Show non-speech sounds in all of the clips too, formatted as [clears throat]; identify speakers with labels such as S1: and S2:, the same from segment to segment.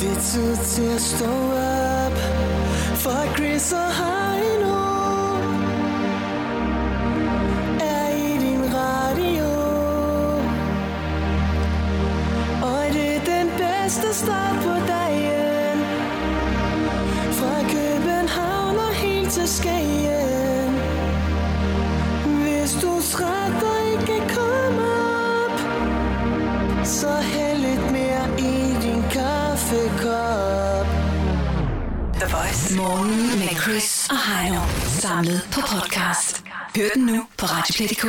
S1: altid til at stå op For Chris og Heino Er i din radio Og det er den bedste start på dagen Fra København og helt til Skagen Hvis du er træt og ikke kan komme op Så hæld lidt mere i din kaffekop
S2: The Voice. Morgen med Chris og Heino. Samlet på podcast. Hør den nu på Radioplay.dk.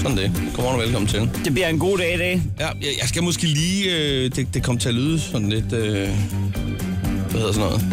S3: Sådan det. Godmorgen og velkommen til.
S4: Det bliver en god dag i dag.
S3: Ja, jeg, jeg skal måske lige... Øh, det, det kom til at lyde sådan lidt... Øh, hvad hedder sådan noget?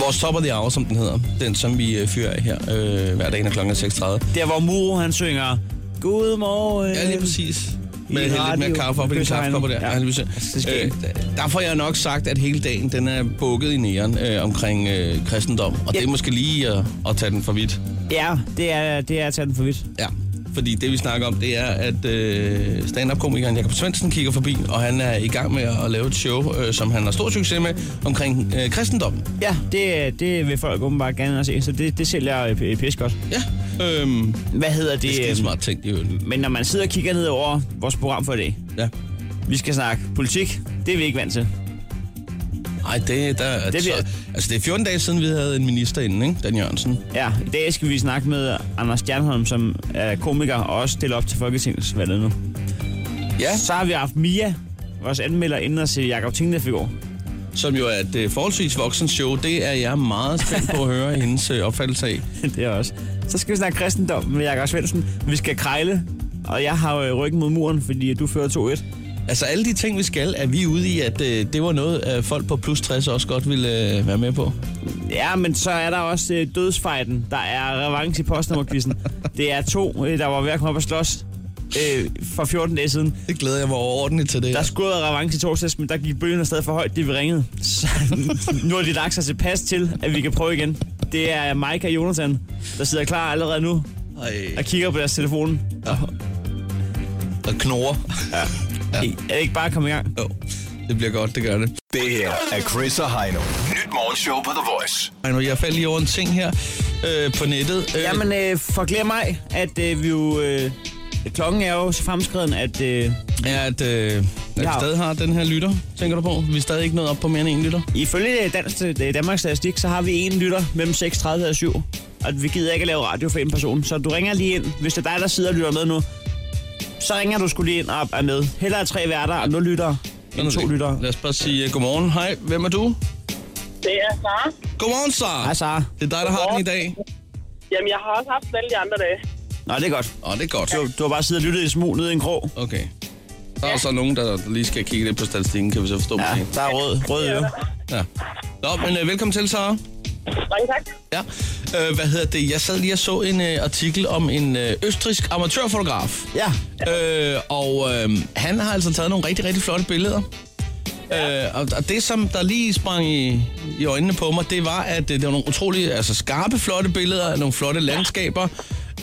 S3: Vores Top of the Hour, som den hedder. Den, som vi øh, fyrer af her øh, hver dag, når klokken er 6.30.
S4: Der hvor Muro han synger, Godmorgen.
S3: Ja, lige præcis. Øh, Med
S4: I
S3: hælde lidt mere
S4: radio.
S3: kaffe op i den
S4: Kysser
S3: kaffekopper der.
S4: hende.
S3: Ja.
S4: Ja.
S3: Ja, lige præcis.
S4: Det skal
S3: øh, der får jeg nok sagt, at hele dagen den er bukket i næren øh, omkring øh, kristendom. Og ja.
S4: Ja.
S3: det er måske lige at, at tage den for vidt.
S4: Ja, det er, det er at tage den for vidt.
S3: Ja, fordi det vi snakker om, det er, at øh, stand-up-komikeren Jakob Svendsen kigger forbi, og han er i gang med at lave et show, øh, som han har stor succes med, omkring øh, kristendommen.
S4: Ja, det, det vil folk åbenbart gerne at se, så det, det sælger øh, p- pis godt.
S3: Ja, øhm, det,
S4: Hvad hedder det?
S3: det er
S4: øh,
S3: smart ting, i øvrigt.
S4: Men når man sidder og kigger ned over vores program for i dag,
S3: Ja.
S4: vi skal snakke politik, det er vi ikke vant til.
S3: Ej, det, der, det,
S4: Det
S3: bliver...
S4: bliver-
S3: altså, det er 14 dage siden, vi havde en minister inden, ikke? Dan Jørgensen.
S4: Ja, i dag skal vi snakke med Anders Stjernholm, som er komiker og også stiller op til Folketingsvalget nu.
S3: Ja,
S4: Så har vi haft Mia, vores anmelder, inden at se Jakob Tingleff i går.
S3: som jo er et øh, forholdsvis voksen show. Det er jeg meget spændt på at [laughs] høre hendes øh, opfattelse af.
S4: [laughs] det er også. Så skal vi snakke kristendom med Jakob Svendsen. Vi skal krejle, og jeg har jo ryggen mod muren, fordi du fører 2-1.
S3: Altså alle de ting, vi skal, er vi ude i, at øh, det var noget, øh, folk på plus 60 også godt ville øh, være med på.
S4: Ja, men så er der også øh, dødsfejden. Der er revanche i postnummerquizzen. Det er to, øh, der var ved at komme op og slås øh, for 14 dage siden.
S3: Det glæder jeg mig overordentligt til det.
S4: Der skulle have været revanche i torsdags, men der gik bølgen stadig for højt, det vi ringede. Så [laughs] nu har de lagt sig tilpas til, at vi kan prøve igen. Det er Mike og Jonathan, der sidder klar allerede nu
S3: Ej,
S4: og kigger på deres telefon.
S3: og knurrer.
S4: Ja. Er det ikke bare at komme i gang?
S3: Jo, det bliver godt, det gør det.
S5: Det her er Chris og Heino. Nyt morgenshow på The Voice.
S3: Ej, jeg faldt lige over en ting her øh, på nettet. Øh,
S4: Jamen, øh, forklær mig, at øh, vi jo... Øh, klokken er jo så fremskreden, at... Øh,
S3: er, at, øh, at vi
S4: Ja.
S3: stadig har den her lytter, tænker du på? Vi er stadig ikke nået op på mere end en lytter.
S4: ifølge øh, dansk, øh, Danmarks Statistik, så har vi en lytter mellem 6.30 og 7. Og vi gider ikke at lave radio for en person. Så du ringer lige ind. Hvis det er dig, der sidder og lytter med nu, så ringer du skulle lige ind og er med. Hellere tre værter og nul lyttere end to lyttere.
S3: Lad os bare sige uh, godmorgen. Hej, hvem er du?
S6: Det er Sara.
S3: Godmorgen, Sara.
S4: Hej, Sara.
S3: Det er dig, der har den i dag.
S6: Jamen, jeg har også haft alle de andre dage.
S4: Nå, det er godt.
S3: Åh, oh, det er godt.
S4: Du, du har bare siddet og lyttet i smug nede i en krog.
S3: Okay. Der er så nogen, der lige skal kigge lidt på statistikken, kan vi så forstå.
S4: Ja,
S3: måske.
S4: der er rød, rød øre.
S3: ja. Nå, men øh, velkommen til, Sara.
S6: Mange tak.
S3: Ja. Øh, hvad hedder det? Jeg sad lige og så en øh, artikel om en øh, østrisk amatørfotograf.
S4: Ja,
S3: Øh, og øh, han har altså taget nogle rigtig, rigtig flotte billeder. Øh, og, og det, som der lige sprang i, i øjnene på mig, det var, at øh, det var nogle utrolig altså, skarpe, flotte billeder, nogle flotte landskaber.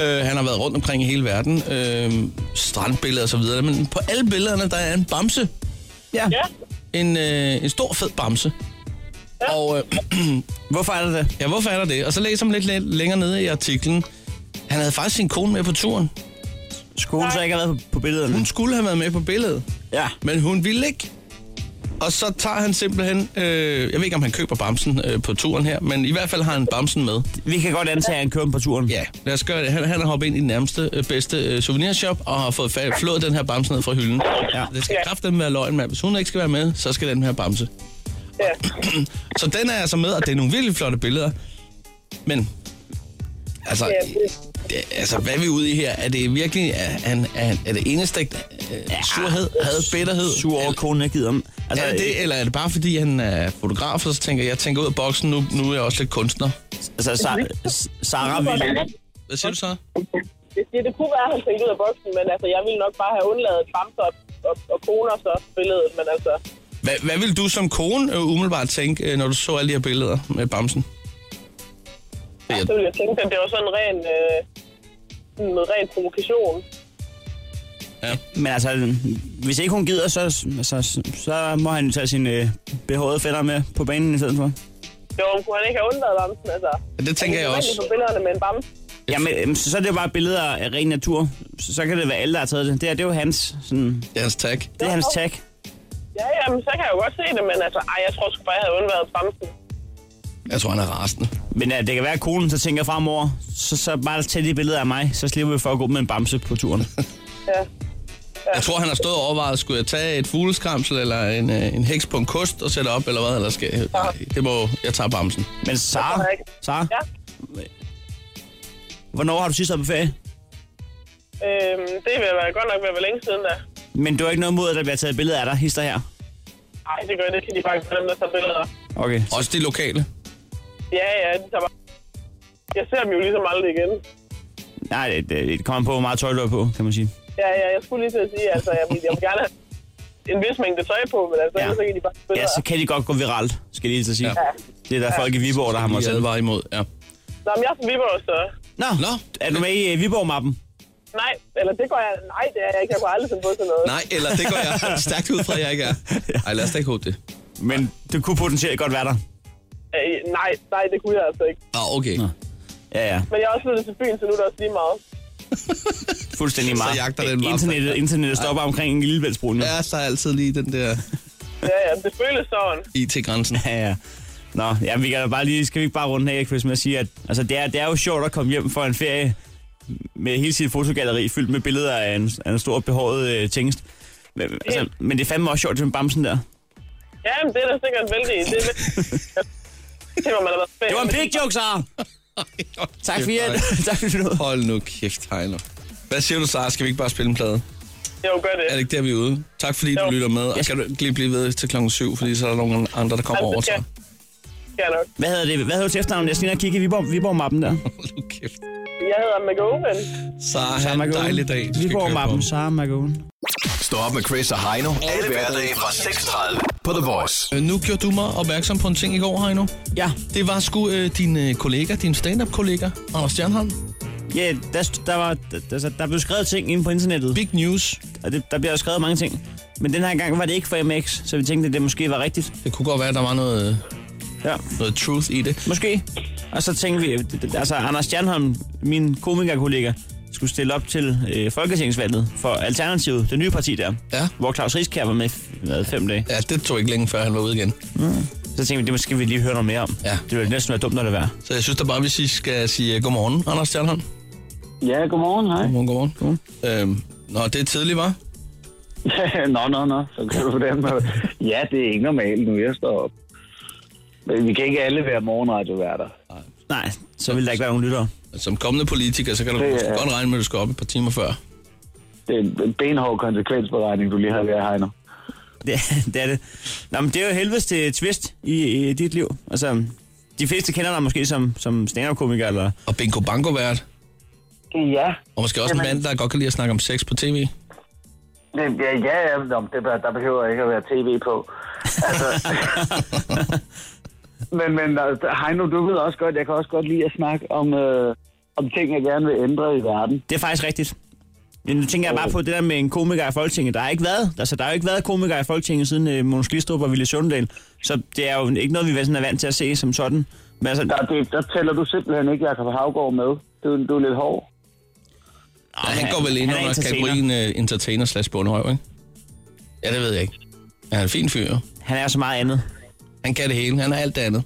S3: Øh, han har været rundt omkring i hele verden. Øh, strandbilleder og så videre. Men på alle billederne, der er en bamse.
S4: ja.
S6: Ja,
S3: En, øh, en stor, fed bamse. Og øh,
S4: Hvorfor er der det?
S3: Ja, hvorfor er der det? Og så læser man lidt læ- længere nede i artiklen. Han havde faktisk sin kone med på turen.
S4: Skolen så ikke har været på, på billederne.
S3: Hun skulle have været med på billedet,
S4: Ja.
S3: men hun ville ikke. Og så tager han simpelthen, øh, jeg ved ikke om han køber bamsen øh, på turen her, men i hvert fald har han bamsen med.
S4: Vi kan godt antage, at han kører på turen.
S3: Ja, lad os gøre det. Han, han har hoppet ind i den nærmeste, øh, bedste øh, souvenirshop og har fået fa- flået den her bamse ned fra hylden. Ja.
S4: Ja.
S3: Det skal kraftedeme være løgn, mand. Hvis hun ikke skal være med, så skal den her bamse.
S6: ja.
S3: [clears throat] Så den er altså med, og det er nogle virkelig flotte billeder. Men, altså,
S6: Ja, det-
S3: det, altså hvad er vi ude i her? Er det virkelig, er, han, er, han- er det enestegt øh, surhed, had, bitterhed?
S4: Ah, Sur over, at konen ikke gider dem.
S3: Altså, er det det, eller er det bare fordi, han er fotograf, og så tænker jeg, jeg tænker ud af boksen, nu, nu er jeg også lidt kunstner?
S4: Altså, Sa-
S3: Ah,
S4: Sara ville...
S3: Hvad siger du så?
S6: Det, det, det kunne være, at han tænkte ud af boksen, men altså, jeg ville nok bare have undladet bamser og, og, og koner så billedet, men altså...
S3: Hvad, hvad vil du som kone øh, umiddelbart tænke, øh, når du så alle de her billeder med Bamsen?
S6: Ja, så ville jeg tænke, at det var sådan en ren, øh, sådan noget ren provokation.
S3: Ja.
S4: Men altså, hvis ikke hun gider, så, så, så må han jo tage sine øh, behårede fætter med på banen i stedet for.
S6: Jo, men kunne han ikke have undladt bamsen, altså?
S3: Det tænker jeg også.
S6: på billederne med en bamse.
S4: Jamen, øhm, så så er det jo bare billeder af ren natur. Så, så kan det være alle, der har taget det. Det, her, det er jo hans, sådan,
S3: Det er hans tag.
S4: det er hans tag.
S6: Ja, jamen, så kan jeg jo godt se det, men altså, ej, jeg tror sgu bare, jeg havde undværet bamsen.
S3: Jeg tror, han er rasende.
S4: Men ja, det kan være, at konen så tænker fremover, så, så bare tag de billeder af mig, så slipper vi for at gå med en bamse på
S6: [laughs]
S4: turen.
S6: Ja.
S3: Jeg tror, han har stået og overvejet, skulle jeg tage et fugleskramsel eller en, øh, en heks på en kost og sætte op, eller hvad? Eller skal jeg? Nej, det må... Jeg tager bamsen.
S4: Men Sara,
S6: tror jeg ikke.
S4: Sara
S6: Ja.
S4: hvornår har du sidst været på ferie?
S6: Øhm, det vil være godt nok være hvor længe siden, da.
S4: Men du har ikke noget mod, at der bliver taget billeder af dig, hister her?
S6: Ej, det gør det, kan de faktisk dem, der tager billeder.
S4: Okay.
S3: Også de lokale.
S6: Ja, ja, de tager bare... Jeg ser dem jo ligesom aldrig igen.
S4: Nej, det, det, det kommer på, hvor meget tøj du har på, kan man sige.
S6: Ja, ja, jeg skulle lige til at sige, altså, jeg, vil- jeg vil gerne have en vis mængde tøj på, men altså, ja.
S4: Ja.
S6: så kan de bare tage
S4: Ja,
S6: billeder.
S4: så kan de godt gå viralt, skal jeg lige så sige.
S3: Ja.
S4: Det er der folk i Viborg, der har mig
S3: Jeg
S4: selv.
S3: advarer imod, ja.
S6: Nå, men jeg er fra Viborg, så...
S4: Nå,
S3: Nå.
S4: er du med i øh, Viborg-mappen?
S6: Nej, eller det går jeg... Nej, det er jeg ikke. Jeg kunne aldrig finde på til noget.
S3: Nej, eller det går
S4: [laughs]
S3: jeg stærkt ud fra, at jeg ikke er. Ej, lad os da ikke håbe det.
S4: Men det kunne potentielt godt være der.
S6: Øh, nej, nej, det kunne jeg altså ikke.
S3: Ah, okay.
S4: Nå. Ja, ja.
S6: Men jeg er også flyttet til byen, så nu er det også lige meget.
S4: Fuldstændig meget.
S3: jagter den bare.
S4: internettet, internettet stopper omkring en lille bæltsbrun, jo.
S3: Ja, så er altid lige den der
S6: Ja, ja, det føles sådan.
S3: IT-grænsen.
S4: Ja, ja. Nå, ja, vi kan da bare lige, skal vi ikke bare runde af, Chris, med at sige, at altså, det, er, det er jo sjovt at komme hjem fra en ferie med hele sit fotogalleri fyldt med billeder af en, af en stor behåret øh, tingest. Men, altså, men det er fandme også sjovt med bamsen der.
S6: Ja, men det er da sikkert vældig. Det, er det var man da været spændt.
S4: Det var en big joke, Sara! Tak for
S3: Kæft,
S4: hjælp.
S3: nej.
S4: [laughs] tak for noget.
S3: Hold nu kæft, Heino. Hvad siger du, Sara? Skal vi ikke bare spille en plade?
S6: Jo, gør det.
S3: Er det ikke der, vi er ude? Tak fordi du
S6: Jo.
S3: lytter med, og
S4: Jeg-
S3: kan du ikke lige blive ved til klokken 7, fordi så er der nogen andre, der kommer
S6: Jamen,
S3: over
S6: Altså, det
S3: til
S6: skal-
S3: dig.
S6: Skal jeg nok.
S4: Hvad hedder det? Hvad hedder du til efternavn? Jeg skal lige ind og kigge i Viborg, Viborg-mappen der.
S3: [laughs] Hold nu kæft.
S6: Jeg hedder McGowan.
S3: Sara, have en dejlig dag. Du skal køre på.
S4: Viborg-mappen, Sara Magoen.
S5: Stå op med Chris og Heino. Alle hverdage fra 6.30 på The Voice.
S3: Øh, Nu gjorde du mig opmærksom på en ting i går, Heino.
S4: Ja,
S3: Det var sgu øh, din øh, kollega, din stand-up-kollega, Anders Stjernholm.
S4: ja der, st- der, var, der, der, der blev skrevet ting inde på internettet.
S3: Big news.
S4: og det, der bliver jo skrevet mange ting. Men den her gang var det ikke for MX, så vi tænkte, at det måske var rigtigt.
S3: Det kunne godt være, at der var noget, øh,
S4: Ja,
S3: noget truth i det.
S4: måske. Og så tænkte vi, at det- det- altså Anders Stjernholm, min komikerkollega, skulle stille op til øh, Folketingsvalget for Alternativet, det nye parti der,
S3: Ja.
S4: hvor Claus Rieskjær var med i f- hvad, fem dage.
S3: Ja, det tog ikke længe, før han var ude igen.
S4: Så tænkte vi, det måske vi lige høre noget mere om.
S3: Ja.
S4: Det ville næsten være dumt, når det var.
S3: Så jeg synes da bare, hvis I skal sige øh, godmorgen, Anders Stjernholm.
S7: Ja, godmorgen, hej.
S3: Godmorgen, godmorgen. godmorgen. Øhm, nå, det er tidligt, var?
S7: [laughs] nå, nå, nå, så kan du på den måde. Ja, det er ikke normalt nu, jeg står op. Men vi kan ikke alle være morgenradioværter.
S4: Nej, så ville der ikke være nogen lyttere. [laughs]
S3: Som kommende politiker, så kan du
S7: Det er-
S3: godt regne med, at du skal op et par timer før.
S7: Det er en benhård konsekvensberegning, du lige har ved Heino.
S4: Det, er- det er det. Nå, men det er jo helvedes til twist i, i, dit liv. Altså, de fleste kender dig måske som, som stand-up-komiker, eller
S3: Og Bingo Bango vært.
S7: Ja,
S3: Og måske også Jamen. en
S7: Jamen.
S3: mand, der godt kan lide at snakke om sex på tv.
S7: det, ja, ja, ja nå, men det, bør- der behøver ikke at være tv på. [laughs] Altså, men, men altså, Heino, du ved også godt, jeg kan også godt lide at snakke om, øh, om ting, jeg gerne vil ændre i verden.
S4: Det er faktisk rigtigt. Men nu tænker jeg bare på det der med en komiker i Folketinget. Der har ikke været, altså, der har jo ikke været komikere i Folketinget siden øh, Mogens Glistrup og Ville Sundal. Så det er jo ikke noget, vi sådan er vant til at se som sådan. Men altså,
S7: Der, det, der tæller du simpelthen ikke Jacob Havgård med. Du, du er lidt hård.
S3: Ja, han
S4: han-
S3: går vel ind
S4: han er
S3: under
S4: entertainer.
S3: kategorien uh, entertainer slash bundhøj, ikke? Ja, det ved jeg ikke. Han er en fin fyr. jo.
S4: han er så meget andet.
S3: Han kan det hele. Han er alt det andet.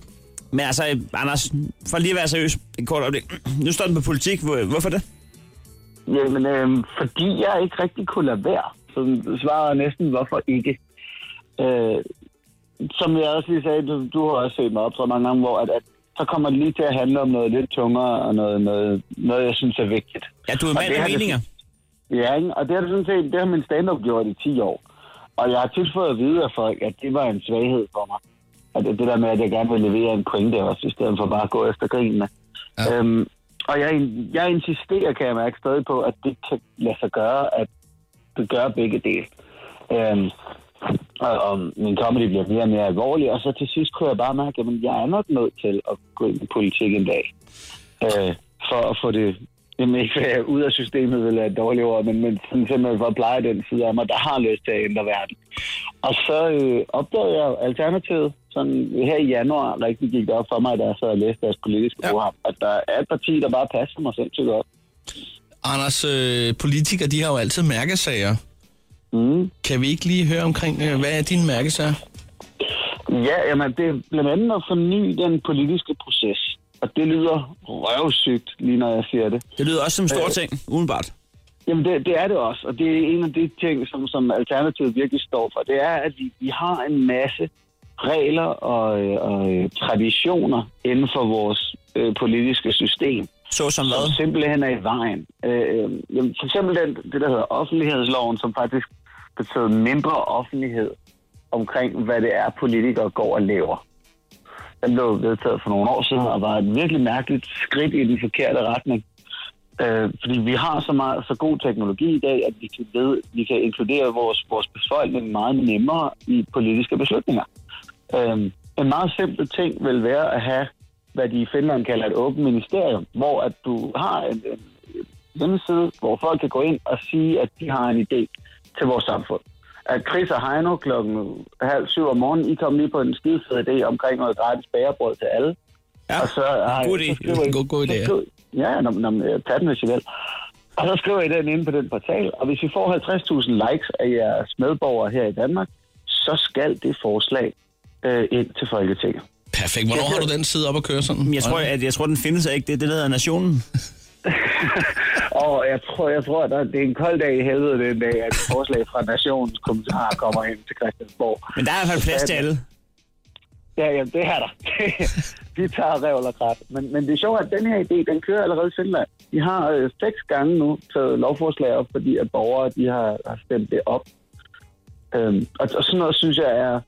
S4: Men altså, øh, Anders, for lige at være seriøs, en kort øjeblik. Nu står den på politik. Hvor- Hvorfor det?
S7: Jamen, øh, fordi jeg ikke rigtig kunne lade være. Så svaret er næsten, hvorfor ikke? Øh, som jeg også lige sagde, du, du har også set mig optræde mange gange, hvor at, at, så kommer det lige til at handle om noget lidt tungere, og noget, noget, noget jeg synes er vigtigt.
S4: Ja, du er en
S7: Og
S4: mand
S7: det
S4: af
S7: har det-
S4: meninger.
S7: Ja, ikke? og det har, det sådan set, det har min stand-up gjort i 10 år. Og jeg har tit fået at vide af folk, at det var en svaghed for mig. Og det, det der med, at jeg gerne vil levere en pointe også, i stedet for bare at gå efter grinene.
S3: Ja.
S7: Ja. Øhm, og jeg, jeg insisterer, kan jeg mærke stadig på, at det kan lade sig gøre, at du gør begge dele. Øhm, og, og min comedy bliver mere og mere alvorlig, og så til sidst kunne jeg bare mærke, at jeg er nok nødt til at gå ind i politik en dag, øh, for at få det Jamen ikke være ud af systemet vil være et dårligt ord, men, men sådan simpelthen for at pleje den side af mig, der har lyst til at ændre verden. Og så øh, opdagede jeg Alternativet, sådan her i januar rigtig gik det op for mig, da jeg sad og læste deres politiske
S3: Ja.
S7: ja. program, at der er et parti, der bare passer mig sindssygt godt.
S3: Anders, øh, politikere, de har jo altid mærkesager.
S7: Mm.
S3: Kan vi ikke lige høre omkring, øh, hvad er dine mærkesager?
S7: Ja, jamen det er blandt andet at forny den politiske proces. Og det lyder røvsygt, lige når jeg siger det.
S4: Det lyder også som en
S7: Øh.
S4: stor ting, udenbart.
S7: Jamen, det, det er det også, og det er en af de ting, som, som Alternativet virkelig står for. Det er, at vi, vi har en masse regler og, øh, og øh, traditioner inden for vores øh, politiske system,
S4: Så som
S7: som
S4: hvad?
S7: simpelthen er i vejen. Øh, øh, jamen, for eksempel den, det, der hedder offentlighedsloven, som faktisk betyder mindre offentlighed omkring, hvad det er, politikere går og laver. Den blev vedtaget for nogle år siden og var et virkelig mærkeligt skridt i den forkerte retning. Øh, fordi vi har så, meget, så god teknologi i dag, at vi kan, ved, vi kan inkludere vores, vores befolkning meget nemmere i politiske beslutninger. Øhm, en meget simpel ting vil være at have, hvad de i Finland kalder et åbent ministerium, hvor at du har en, en hjemmeside, hvor folk kan gå ind og sige, at de har en idé til vores samfund. At Chris og Heino klokken halv syv om morgenen, I kom lige på en skidefed idé omkring noget gratis bagerbrød til alle.
S4: Ja,
S7: og så, har
S4: god
S7: I-
S4: idé.
S7: så skriver I-
S3: God- god idé,
S7: så
S3: ja.
S7: skriver- Ja, når, når, tag den, hvis I vil. Og så skriver I den inde på den portal, og hvis vi får 50.000 likes af jeres medborgere her i Danmark, så skal det forslag øh, ind til Folketinget.
S3: Perfekt. Hvornår har du den side op at køre sådan?
S4: Jeg tror, at, jeg tror, den findes ikke. Det er det, der hedder Nationen.
S7: Og jeg tror, jeg tror der, det er en kold dag i helvede den dag, at et forslag fra Nationens kommentarer kommer ind til Christiansborg.
S4: Men der er i hvert fald plads til alle.
S7: Ja, jamen, det er der. De tager revl og krat. Men, men det er sjovt, at den her idé, den kører allerede i Finland. De har øh, seks gange nu taget lovforslag op, fordi at borgere de har, har stemt det op. Øhm, og, og sådan noget, synes jeg, er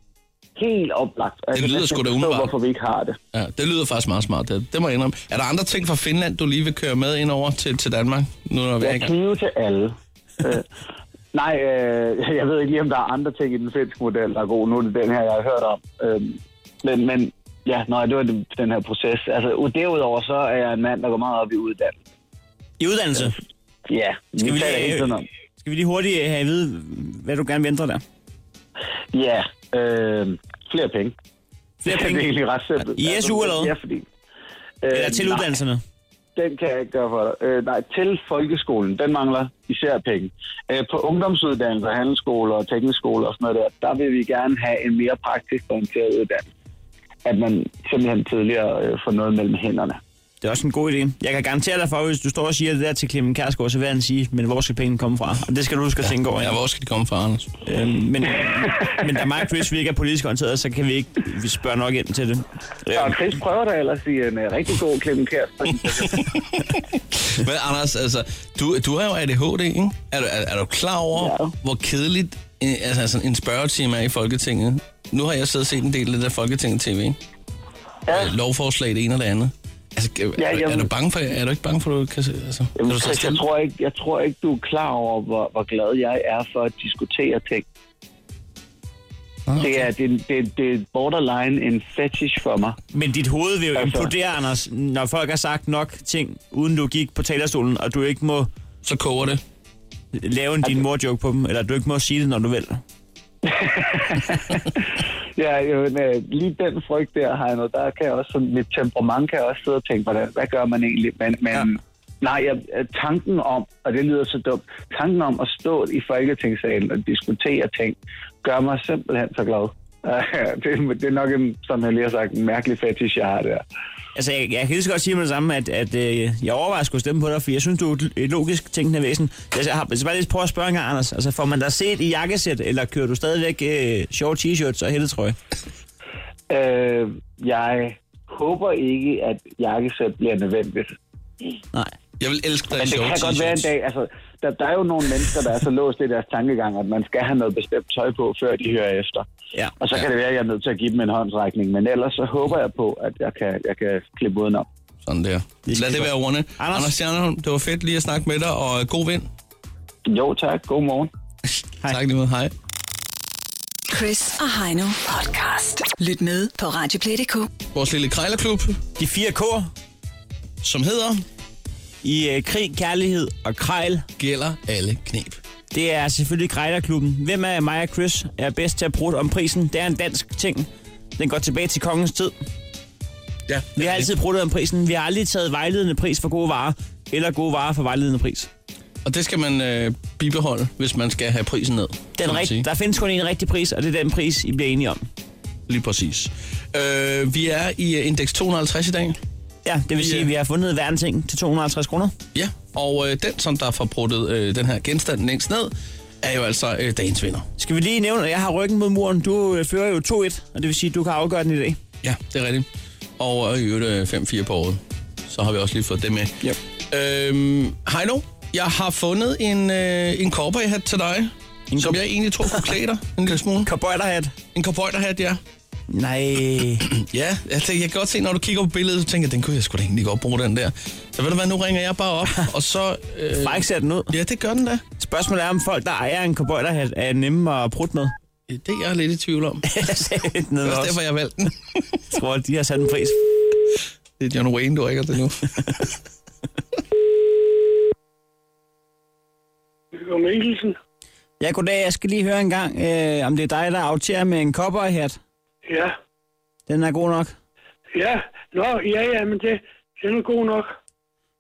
S7: helt oplagt. Og jeg
S3: Det
S7: kan
S3: lyder
S7: næsten
S3: sgu da
S7: ikke forstå,
S3: umiddelbart.
S7: hvorfor vi ikke har det.
S3: Ja, det lyder faktisk meget smart. Det, det må jeg indrømme. Er der andre ting fra Finland, du lige vil køre med ind over til, til Danmark? Nu når vi er i
S7: Jeg
S3: gang?
S7: knive til alle. øh, nej, øh, jeg ved ikke lige, om der er andre ting i den finske model, der er god. Nu er det den her, jeg har hørt om. Øh, men, men ja, nej, det var den- den her proces. Altså, u- derudover så er jeg en mand, der går meget op i uddannelse.
S4: I uddannelse.
S7: Ja,
S4: Skal vi,
S7: taler hele tiden om.
S4: lige, skal vi lige hurtigt øh, have at vide, hvad du gerne vil ændre der?
S7: Ja, øh, flere penge. [laughs]
S4: Flere
S7: Det er
S4: penge?
S7: egentlig ret simpelt. Altså,
S4: I SU eller hvad?
S7: Ja, fordi... Øh,
S4: Eller til
S7: nej,
S4: uddannelserne?
S7: den kan jeg ikke gøre for dig. Øh, nej, til folkeskolen, den mangler især penge. Øh, på ungdomsuddannelser, handelsskoler og teknisk skoler og sådan noget der, der vil vi gerne have en mere praktisk orienteret uddannelse. At man simpelthen tidligere øh, får noget mellem hænderne.
S4: Det er også en god idé. Jeg kan garantere dig for, hvis du står og siger det der til Clemen Kærsgaard, så vil han sige, men hvor skal pengene komme fra? Og det skal du huske at tænke over.
S3: Ja,
S4: Ja.
S3: hvor skal de komme fra, Anders?
S4: Øhm, men, men da mig og Chris, vi ikke er politisk orienteret, så kan vi ikke vi spørger nok ind til det. Øhm,
S7: Og Chris prøver da ellers i en øh, rigtig god klemme
S4: [laughs]
S7: kæreste.
S3: Men Anders, altså, du, du har jo ADHD, ikke? Er du, er, er du klar over, ja.
S7: Ja.
S3: hvor kedeligt øh, altså, sådan en spørgetime er i Folketinget? Nu har jeg siddet og set en del af det der Folketinget-TV, ja.
S7: Ja.
S3: øh, lovforslag, det ene og det andet. Altså, er,
S7: Ja,
S3: ja, er,
S7: jamen-
S3: du bange for, er du ikke bange for, at du kan se- altså, kan
S7: Jamen,
S3: du sidde
S7: Chris, jeg,
S3: stille?
S7: tror ikke, jeg tror ikke, du er klar over, hvor, hvor glad jeg er for at diskutere ting.
S3: Ah,
S7: Det er, det, det, det er borderline en fetish for mig.
S4: Men dit hoved vil jo
S7: Altså.
S4: implodere, Anders, når folk har sagt nok ting, uden du gik på talerstolen, og du ikke må
S3: Så koger det.
S4: lave en din mor-joke på dem, eller du ikke må sige det, når du vil.
S7: Ja, jo, men, øh, lige den frygt der, Heino, der kan jeg også, sådan, mit temperament kan jeg også sidde og tænke, hvordan, hvad gør man egentlig? Men, men
S4: Ja.
S7: ja. nej, jeg, øh, tanken om, og det lyder så dumt, tanken om at stå i Folketingssalen og diskutere ting, gør mig simpelthen så glad. [laughs] det, er- det er nok, en, som jeg lige har sagt, en mærkelig fetish, jeg har der.
S4: Altså, jeg, jeg kan lige så godt sige med det samme, at, at øh, jeg overvejer at skulle stemme på dig, for jeg synes, du er et- et logisk tænkende væsen. Jeg, jeg har jeg skal bare lige prøve at spørge en gang, Anders. Altså, får man dig set i jakkesæt, eller kører du stadigvæk øh, short t-shirts og hættetrøje?
S7: Øh, jeg håber ikke, at jakkesæt bliver nødvendigt.
S4: Nej.
S3: Jeg vil elske dig i
S7: Men det
S3: sjove
S7: kan godt være en
S3: t-shirts.
S7: dag, altså, der, der er jo nogle mennesker, der er så låst i deres tankegang, at man skal have noget bestemt tøj på, før de hører efter.
S4: Ja.
S7: Og så kan det være, at jeg er nødt til at give dem en håndsrækning, men ellers så håber jeg på, at jeg kan, jeg kan klippe udenom.
S3: Sådan der.
S4: Det skal
S3: Lad det
S4: vi
S3: være
S4: godt.
S3: ordene. Anders,
S4: Anders-
S3: Anders Stjernholm, det var fedt lige at snakke med dig, og øh, god vind.
S7: Jo tak, god morgen.
S3: Hej. Tak lige måde. Hej.
S2: Chris og Heino podcast. Lyt med på Radioplay.dk.
S3: Vores lille krejlerklub,
S4: De fire K'er.
S3: som hedder...
S4: i øh, krig, kærlighed og krejl.
S3: Gælder alle knep.
S4: Det er selvfølgelig Grejlerklubben. Hvem af mig og Chris er bedst til at bruge om prisen? Det er en dansk ting. Den går tilbage til kongens tid.
S3: Ja,
S4: Vi har altid brugt om prisen. Vi har aldrig taget vejledende pris for gode varer, eller gode varer for vejledende pris.
S3: Og det skal man øh, bibeholde, hvis man skal have prisen ned. kan
S4: Den
S3: man sige.
S4: rigt- der findes kun en rigtig pris, og det er den pris, I bliver enige om.
S3: Lige præcis. Øh, vi er i øh, indeks 250 i dag.
S4: Ja, det vil
S3: Vi,
S4: sige,
S3: øh,
S4: at vi har fundet hver en ting til 250 kroner.
S3: Ja, og øh, den, som der får bruttet øh, den her genstand længst ned, er jo altså øh, dagens vinder.
S4: Skal vi lige nævne, at jeg har ryggen mod muren. Du øh, fører jo 2-1, og det vil sige, at du kan afgøre den i dag.
S3: Ja, det er rigtigt. Og øh, i øvrigt øh, 5-4 på året. Så har vi også lige fået det med.
S4: Yep.
S3: Øhm, hej nu. Jeg har fundet en, øh, en cowboyhat til dig, en som
S4: cowboy-
S3: jeg egentlig tror kunne klæde dig en lille smule.
S4: Cowboyderhat.
S3: En cowboyderhat, ja.
S4: Nej.
S3: Ja, jeg, tænker, jeg kan godt se, når du kigger på billedet, så tænker jeg, den kunne jeg sgu da egentlig godt bruge, den der. Så ved du hvad, nu ringer jeg bare
S4: [laughs]
S3: op, og så... Øh,
S4: Bare ikke ser den ud.
S3: ja, det gør den da.
S4: Spørgsmålet er, om folk, der ejer en cowboyderhat, er nemme at prutte med. [laughs]
S3: Det er jeg lidt i tvivl om. Det
S4: Nede
S3: er
S4: også.
S3: også derfor, jeg valgte den.
S4: Jeg tror, de har sat en pris.
S3: Det er John Wayne, du ringer til
S4: [laughs]
S3: nu.
S6: Om Mikkelsen?
S4: Ja, goddag. Jeg skal lige høre en gang, øh, om det er dig, der aftager med en cowboyhat.
S6: Ja.
S4: Den er god nok.
S6: Ja. Nå, ja, ja, men det, det er nu god nok.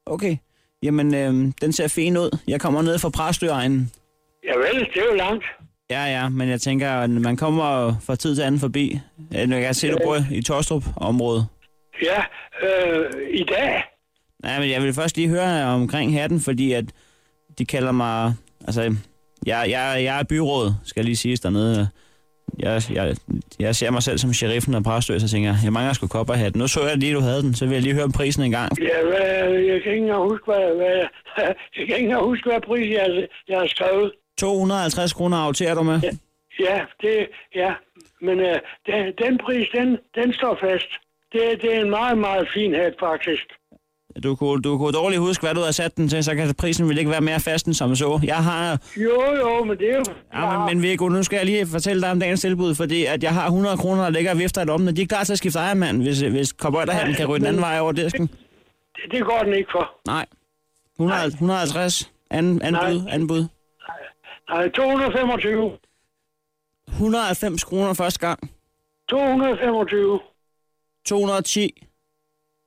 S4: Okay. Jamen, øh, den ser fin ud. Jeg kommer ned fra Præstøegnen.
S6: Ja vel, det er jo langt.
S4: Ja, ja, men jeg tænker, at man kommer fra tid til anden forbi. Øh, nu kan Jeg se, du bor i Torstrup-området.
S6: Ja, øh, i dag.
S4: Nej, men jeg vil først lige høre omkring hatten, fordi at de kalder mig... Altså, jeg, jeg, jeg er byråd, skal lige siges dernede. Jeg, jeg, jeg ser mig selv som sheriffen af Præstø, så tænker jeg, jeg mangler sgu kopperhat. Nu så jeg lige, du havde den, så vil jeg lige høre om prisen en gang.
S6: Ja, hvad, jeg kan ikke engang huske, hvad, hvad [laughs] jeg kan ikke engang huske, hvad pris jeg, jeg har skrevet.
S4: 250 kroner aftager du med?
S6: Ja, det, ja. Men øh, den, den pris, den, den står fast. Det, det er en meget, meget fin hat, faktisk.
S4: Du kunne, du kunne dårligt huske, hvad du havde sat den til, så kan prisen ville ikke være mere fast end som så. Jeg har...
S6: Jo, jo, men det er jo...
S4: Ja, men, men Viggo, nu skal jeg lige fortælle dig om dagens tilbud, fordi at jeg har 100 kroner, der ligger og vifter i lommen, og de er klar til at skifte ejermand, hvis, hvis cowboyderhatten kan ryge den anden vej over disken.
S6: Det, det går den ikke for.
S4: Nej. 100, 150. Anden, anden
S6: Nej.
S4: bud, anden bud.
S6: Nej, 225.
S4: 190 kroner første gang.
S6: 225.
S4: 210.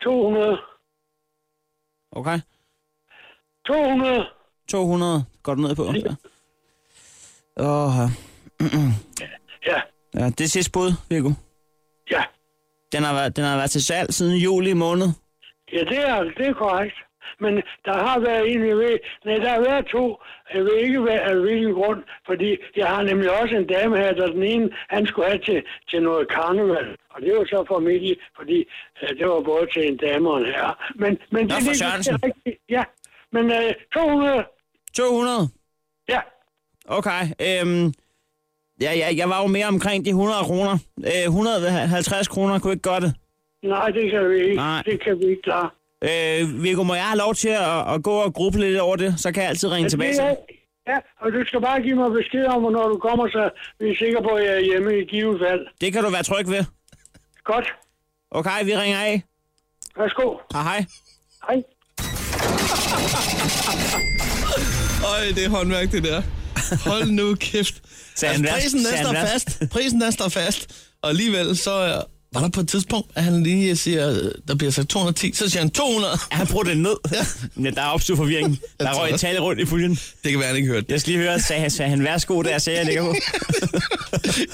S6: 200.
S4: Okay.
S6: 200.
S4: 200. Går du ned på? Ja. Åh,
S6: Ja,
S4: ja, det er sidste bud, Viggo.
S6: ja.
S4: Den har, været, den har været til salg siden juli måned.
S6: Ja, det er, det er korrekt. Men der har været en, jeg ved, nej, der har været to. Jeg ved ikke, hvad, af hvilken grund, fordi jeg har nemlig også en dame her, der den ene, han skulle have til, til noget karneval. Og det var så familie, fordi øh, det var både til en dame og en herre. Men, men det,
S4: Nå, for
S6: det, det
S4: Sørensen.
S6: er rigtigt. Ja, men øh, 200,
S4: 200.
S6: ja,
S4: Okay. Øhm, ja, ja, jeg var jo mere omkring de 100 kroner. Øh, 150 kroner kunne ikke gøre det.
S6: nej, det kan vi ikke.
S4: Nej.
S6: Det kan vi ikke klare.
S4: Øh, Viggo, må jeg have lov til at, at gå og gruble lidt over det? Så kan jeg altid ringe tilbage til
S6: Ja,
S4: dig.
S6: det er- Ja, og du skal bare give mig besked om, hvornår du kommer, så vi er sikre på, at jeg er hjemme i givet fald.
S4: Det kan du være tryg ved.
S6: Godt.
S4: Okay, vi ringer af.
S6: Værsgo.
S4: Hej, hej.
S6: Hej.
S3: Øj, det er håndværk, det der. Hold nu
S4: [laughs]
S3: kæft. Altså,
S4: Sagde han værst?
S3: prisen den
S4: Sagde han
S3: står
S4: værst?
S3: fast. Prisen den står fast. Og alligevel, så øh, var der på et tidspunkt, at han lige siger, øh, der bliver sagt 210, så siger han 200.
S4: Ja, Han brugte den ned. Ja. Der er opstået forvirring.
S3: Jeg
S4: Der
S3: tror
S4: røg et
S3: også.
S4: tal rundt i puljen.
S3: [laughs] Det kan være, han ikke hørte det.
S4: Jeg skal lige høre, sagde, sagde han, værsgo, der sagde jeg ligger på.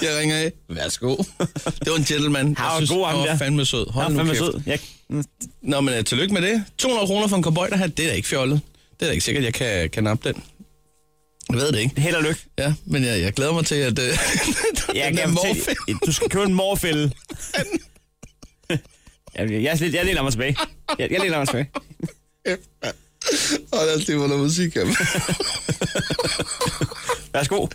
S3: Jeg ringer af. Værsgo. [laughs] Det var en gentleman.
S4: var
S3: Jeg synes,
S4: god ham
S3: han var
S4: der.
S3: fandme sød. Hold
S4: Han
S3: nu
S4: var fandme
S3: kæft.
S4: sød. Jeg,
S3: Nå, men øh, tillykke med det. 200 kroner for en cowboy, der har, det er da ikke fjollet. Det er da ikke sikkert, jeg kan, kan nappe den. Jeg ved det ikke.
S4: held og lykke.
S3: Ja, men jeg, jeg glæder mig til, at... Øh, [laughs]
S4: Jeg
S3: den der
S4: kan
S3: morfin-
S4: fortælle, du skal købe en morfælde. [laughs] Jeg, jeg, jeg, jeg læner mig tilbage. Jeg, jeg læner mig tilbage.
S3: Og lad os lige få noget
S4: [laughs]
S3: musik af.
S4: Værsgo.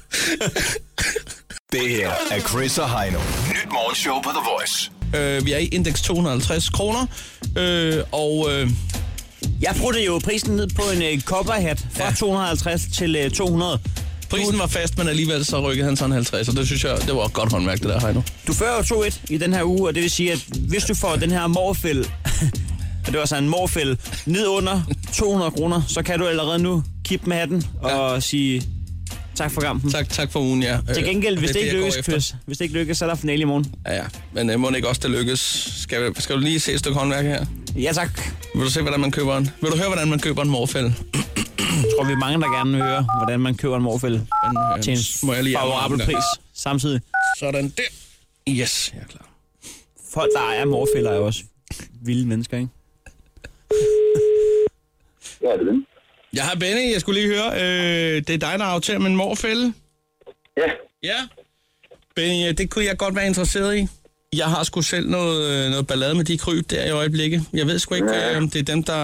S5: Det her er Chris og Heino. Nyt morgenshow på The Voice.
S3: øh, vi er i indeks 250 kroner, øh, og øh,
S4: Jeg brugte jo prisen ned på en uh, copperhat fra
S3: Ja.
S4: ja. 250 til uh, 200.
S3: prisen var fast, men alligevel så rykkede han sådan 50, og det synes jeg, det var et godt håndværk, det der Heino.
S4: Du fører jo 2-1 i den her uge, og [laughs] det vil sige, at hvis du får den her morfælde, og det var så en morfælde, ned under 200 kroner, så kan du allerede nu kippe med hatten og sige tak for kampen.
S3: Tak, tak for ugen, ja.
S4: Til gengæld,
S3: Øh,
S4: hvis det,
S3: er
S4: ikke
S3: jeg går
S4: lykkes,
S3: efter.
S4: Chris, hvis det ikke lykkes, så er der finale i morgen.
S3: Ja, ja. Men øh, må det ikke også, det lykkes? Skal, skal du lige se et stykke håndværk her?
S4: Ja tak.
S3: Vil du se, hvordan man køber en? Vil du høre, hvordan man køber en morfælde?
S4: Jeg tror, vi er mange, der gerne vil høre, hvordan man køber en morfælde
S3: Hvordan, øh,
S4: til en
S3: må jeg lige
S4: favorabel
S3: arme den der?
S4: pris. Samtidig,
S3: Sådan der. Yes, jeg er klar.
S4: folk, der ejer morfælder, er jo også vilde mennesker, ikke?
S5: Ja, det er det.
S3: Jeg har Benny, jeg skulle lige høre. Øh, det er dig, der aftager min morfælde.
S5: Ja,
S3: Ja. Benny, øh, det kunne jeg godt være interesseret i. Jeg har sgu selv noget, øh, noget ballade med de kryb der i øjeblikket. Jeg ved sgu ikke, øh, om det er dem, der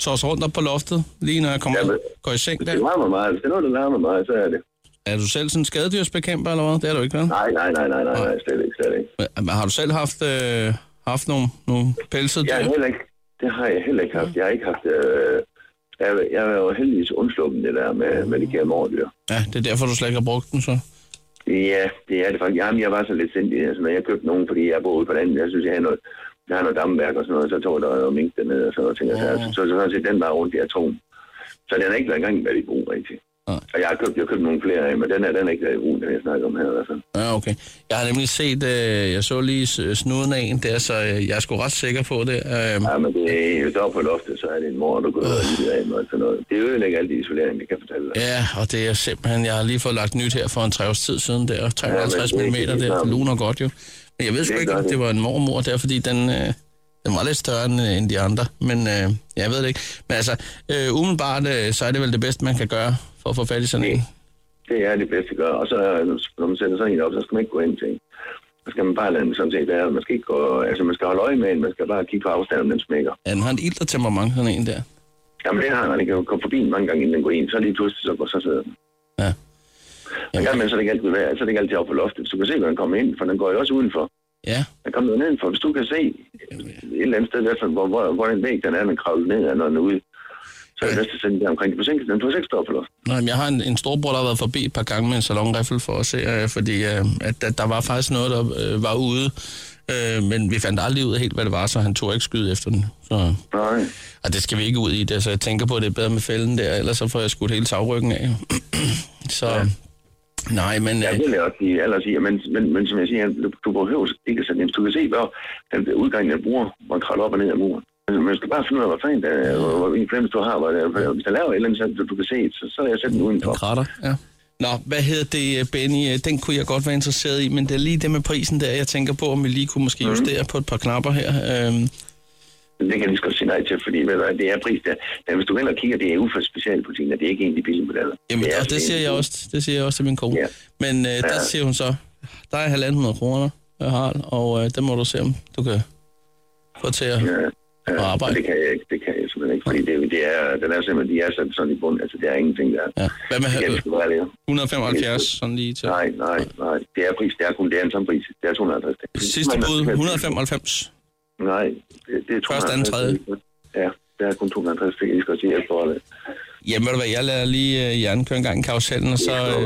S3: tosser rundt op på loftet, lige når jeg kommer
S5: Jamen.
S3: går i seng
S5: det
S3: der.
S5: larmer meget. Hvis det er noget, der larmer meget, så er det.
S3: Er du selv sådan en skadedyrsbekæmper eller hvad? Det er du ikke, vel?
S5: Nej, nej, nej, nej, nej, nej slet ikke, slet ikke.
S3: Men Har du selv haft, øh, haft nogle, nogle pelsede
S5: Jeg
S3: dyr?
S5: har heller ikke, det har jeg heller ikke haft. Jeg har ikke haft... Øh, jeg, jeg er jo heldigvis undsluppen det der med, med de kære mordyr.
S3: Ja, det er derfor, du slet ikke har brugt den, så.
S5: Ja, det er det faktisk. Jamen, jeg var så lidt sindig, altså, når jeg købte nogen, fordi jeg boede ude på landet. Jeg synes, jeg havde noget, jeg havde noget dammværk og sådan noget, så tog der noget mink dernede og sådan noget. Ting, oh. så, så, så, sådan set den var rundt i atom. Så den har ikke været engang været i brug, rigtig.
S3: Nej.
S5: Og jeg har købt, jeg har købt nogle flere af, men den er, den er ikke været i brug, den jeg snakker om her. Altså.
S3: Ja, okay. Jeg har nemlig set, øh, jeg så lige s- snuden af en der, så øh, jeg er sgu ret sikker på det. Øh,
S5: Ja, men det er jo deroppe på loftet, så er det en mor, du går og lyder af mig og sådan noget. Det ødelægger alt isolering, det kan jeg fortælle dig.
S3: ja, og det er simpelthen, jeg har lige fået lagt nyt her for en tre års tid siden der, 350
S5: Ja,
S3: mm
S5: men det er ikke det
S3: der, det
S5: samme.
S3: luner godt jo. Men jeg ved sgu
S5: Det
S3: ikke,
S5: gør
S3: om
S5: det.
S3: det var en mormor der, fordi den, øh, den var lidt større end, øh, end de andre, men øh, jeg ved det ikke. Men altså, øh, umiddelbart, øh, så er det vel det bedste, man kan gøre for at få fat i sådan en.
S5: Det er det bedste at gøre. Og så, øh, når man sætter sådan en op, så skal man ikke gå ind til en. Så skal man bare lade den sådan set være. Man skal, ikke gå, altså, man skal holde øje med en. Man skal bare kigge på afstanden, om den smækker.
S3: Ja, den har en ildre temperament, sådan en der.
S5: Jamen, det har man ikke kommet forbi en mange gange, inden den går ind. Så lige pludselig, så går så sidder den.
S3: Ja.
S5: Og kan man så er det ikke altid være, så er det ikke altid op på loftet. Så du kan se, hvor den kommer ind, for den går jo også udenfor.
S3: Ja,
S5: Den kommer jo nedenfor. Hvis du kan se et eller andet sted, i hvert fald, hvor, hvor, hvor den væg, den er, den kravler ned, og når den er ude, så er det bedst at sende den omkring. Du kan den du ikke stå på loftet.
S3: Nå, jamen, jeg har en, en storbror, der har været forbi et par gange med en salonriffel for at se, øh, fordi øh, at, at der var faktisk noget, der øh, var ude, øh, men vi fandt aldrig ud af helt, hvad det var, så han tog ikke skyde efter den. Så,
S5: Nej.
S3: og det skal vi ikke ud i, det, så jeg tænker på, at det er bedre med fælden der, ellers så får jeg skudt hele tagryggen af. [clears throat] så ja. nej, men
S5: Ja,
S3: øh,
S5: det vil jeg også sige, ellers sige. Men, men, men som jeg siger, du, du behøver ikke at sætte ind. Du kan se, hvor den der udgang, den bruger, hvor den kravler op og ned af muren. Men man skal bare finde ud af, hvad fanden der er, hvor- hvor en flemmest du har. Hvor det, er. hvis der laver et eller andet, så du, du kan se, et, så, så lader jeg sætte den udenfor.
S3: en kratter, ja. Nå, hvad hedder det, øh, Benny? Øh, Den kunne jeg godt være interesseret i, men det er lige det med prisen der, jeg tænker på, om vi lige kunne
S5: Mhm.
S3: måske justere på et par knapper her. Øh,
S5: Det kan jeg lige så godt sige nej til, fordi ved du, hvad, det er pris der. Men hvis du heller kigger, det er ude for specialbutikken, og det er ikke egentlig billigt modeller.
S3: Jamen,
S5: er
S3: det, og
S5: altså
S3: det siger
S5: en-
S3: jeg også, det siger jeg også til min kone.
S5: Ja.
S3: Men øh, der
S5: Ja.
S3: siger hun så, der er 1.500 kroner, øh, Harald, og øh, det må du se, om du kan få til at...
S5: Ja,
S3: Og
S5: ja,
S3: arbejde.
S5: det kan jeg ikke, det kan jeg simpelthen ikke, fordi det, det er, den er simpelthen, de er sat sådan i bund, altså det er ingenting der.
S3: Ja. Hvad med
S5: Det kan
S3: øh,
S5: det sgu være, det er.
S3: 175, sådan lige til...
S5: Nej, nej, nej. Det er pris, det er kun, det er en samme pris. Det er 250.
S3: Sidste
S5: Men-
S3: bud, 195.
S5: Nej, det, det er 250.
S3: Første, anden, tredje.
S5: Ja, det er kun 250, det kan jeg lige så godt sige efterholdet.
S3: Jamen, ved du hvad, jeg lader lige øh, hjernen køre en gang i karusellen, og så... Øh,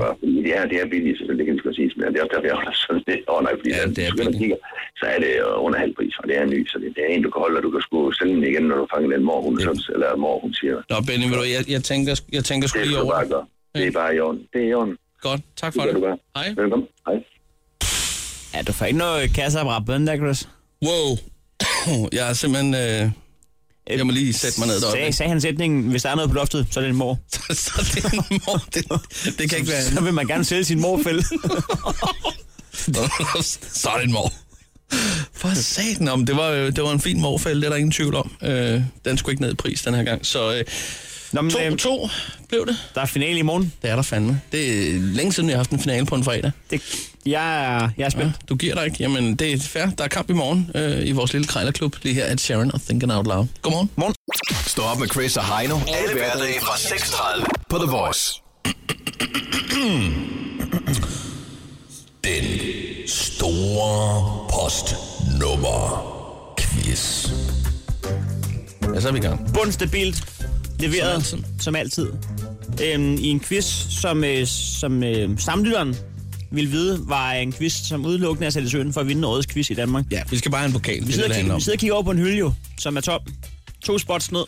S5: Ja, det er billigt, selvfølgelig, det kan jeg lige så godt sige, men det er også derfor, jeg holder sådan lidt. Åh, nej, fordi
S3: Ja,
S5: ja,
S3: det
S5: det
S3: er billigt.
S5: kigger, så er det øh, under halv pris, og det er ny, så det, det er en, du kan holde, og du kan sgu sælge den igen, når du fanger den mor, hun, ja. eller mor, hun siger.
S3: nå, Benny, ved du, hvad, jeg, jeg tænker, jeg tænker sgu
S5: Det
S3: lige
S5: skal du
S3: over
S5: bare
S3: det.
S5: gøre. Det er bare i orden. Det er i orden.
S3: Godt, tak for
S5: Det kan du
S3: det.
S5: gøre.
S3: Hej.
S5: Velkommen. Hej.
S4: Ja, du får ikke noget kasseapparat på den der, Chris.
S3: Wow. [coughs] Jeg er simpelthen... Øh, [laughs] jeg må lige sætte mig ned
S4: Øhm, Sag,
S3: deroppe.
S4: sagde han sætningen, hvis der er noget på loftet, så er det en mor.
S3: Så det er en mor. Det, det kan ikke være
S4: Så vil man gerne sælge sin morfælde.
S3: [laughs] så er det en mor. For satan om, det var, jo- det var en fin morfælde, det er der ingen tvivl om. Øh, den skulle ikke ned i pris den her gang. Så øh,
S4: Nå, men, øh,
S3: 2-2 blev det.
S4: der er finale i morgen.
S3: Det er der fandme. Det er længe siden, vi har haft en finale på en fredag.
S4: Det, jeg, er, jeg er spændt.
S3: Ja, du giver dig ikke. Jamen, det er fair. Der er kamp i morgen øh, i vores lille krejlerklub lige her at Sharon og Thinking Out Loud. Godmorgen.
S8: Stå op med Chris og Heino. Alle hverdage fra 6.30 på The Voice.
S9: Den store postnummer quiz.
S3: Ja, så er vi i gang.
S4: bundstabilt leveret,
S3: Som
S4: som altid, som altid. Øhm, i en quiz, som, øh, som øh, samlytteren ville vide, var en quiz, som udelukkende er sat i søen for at vinde årets quiz i Danmark.
S3: Ja, vi skal bare have en pokal.
S4: vi,
S3: det,
S4: sidder
S3: det
S4: og
S3: handler
S4: kigger,
S3: om.
S4: vi sidder og kigger over på en hylde jo, som er tom. To spots ned.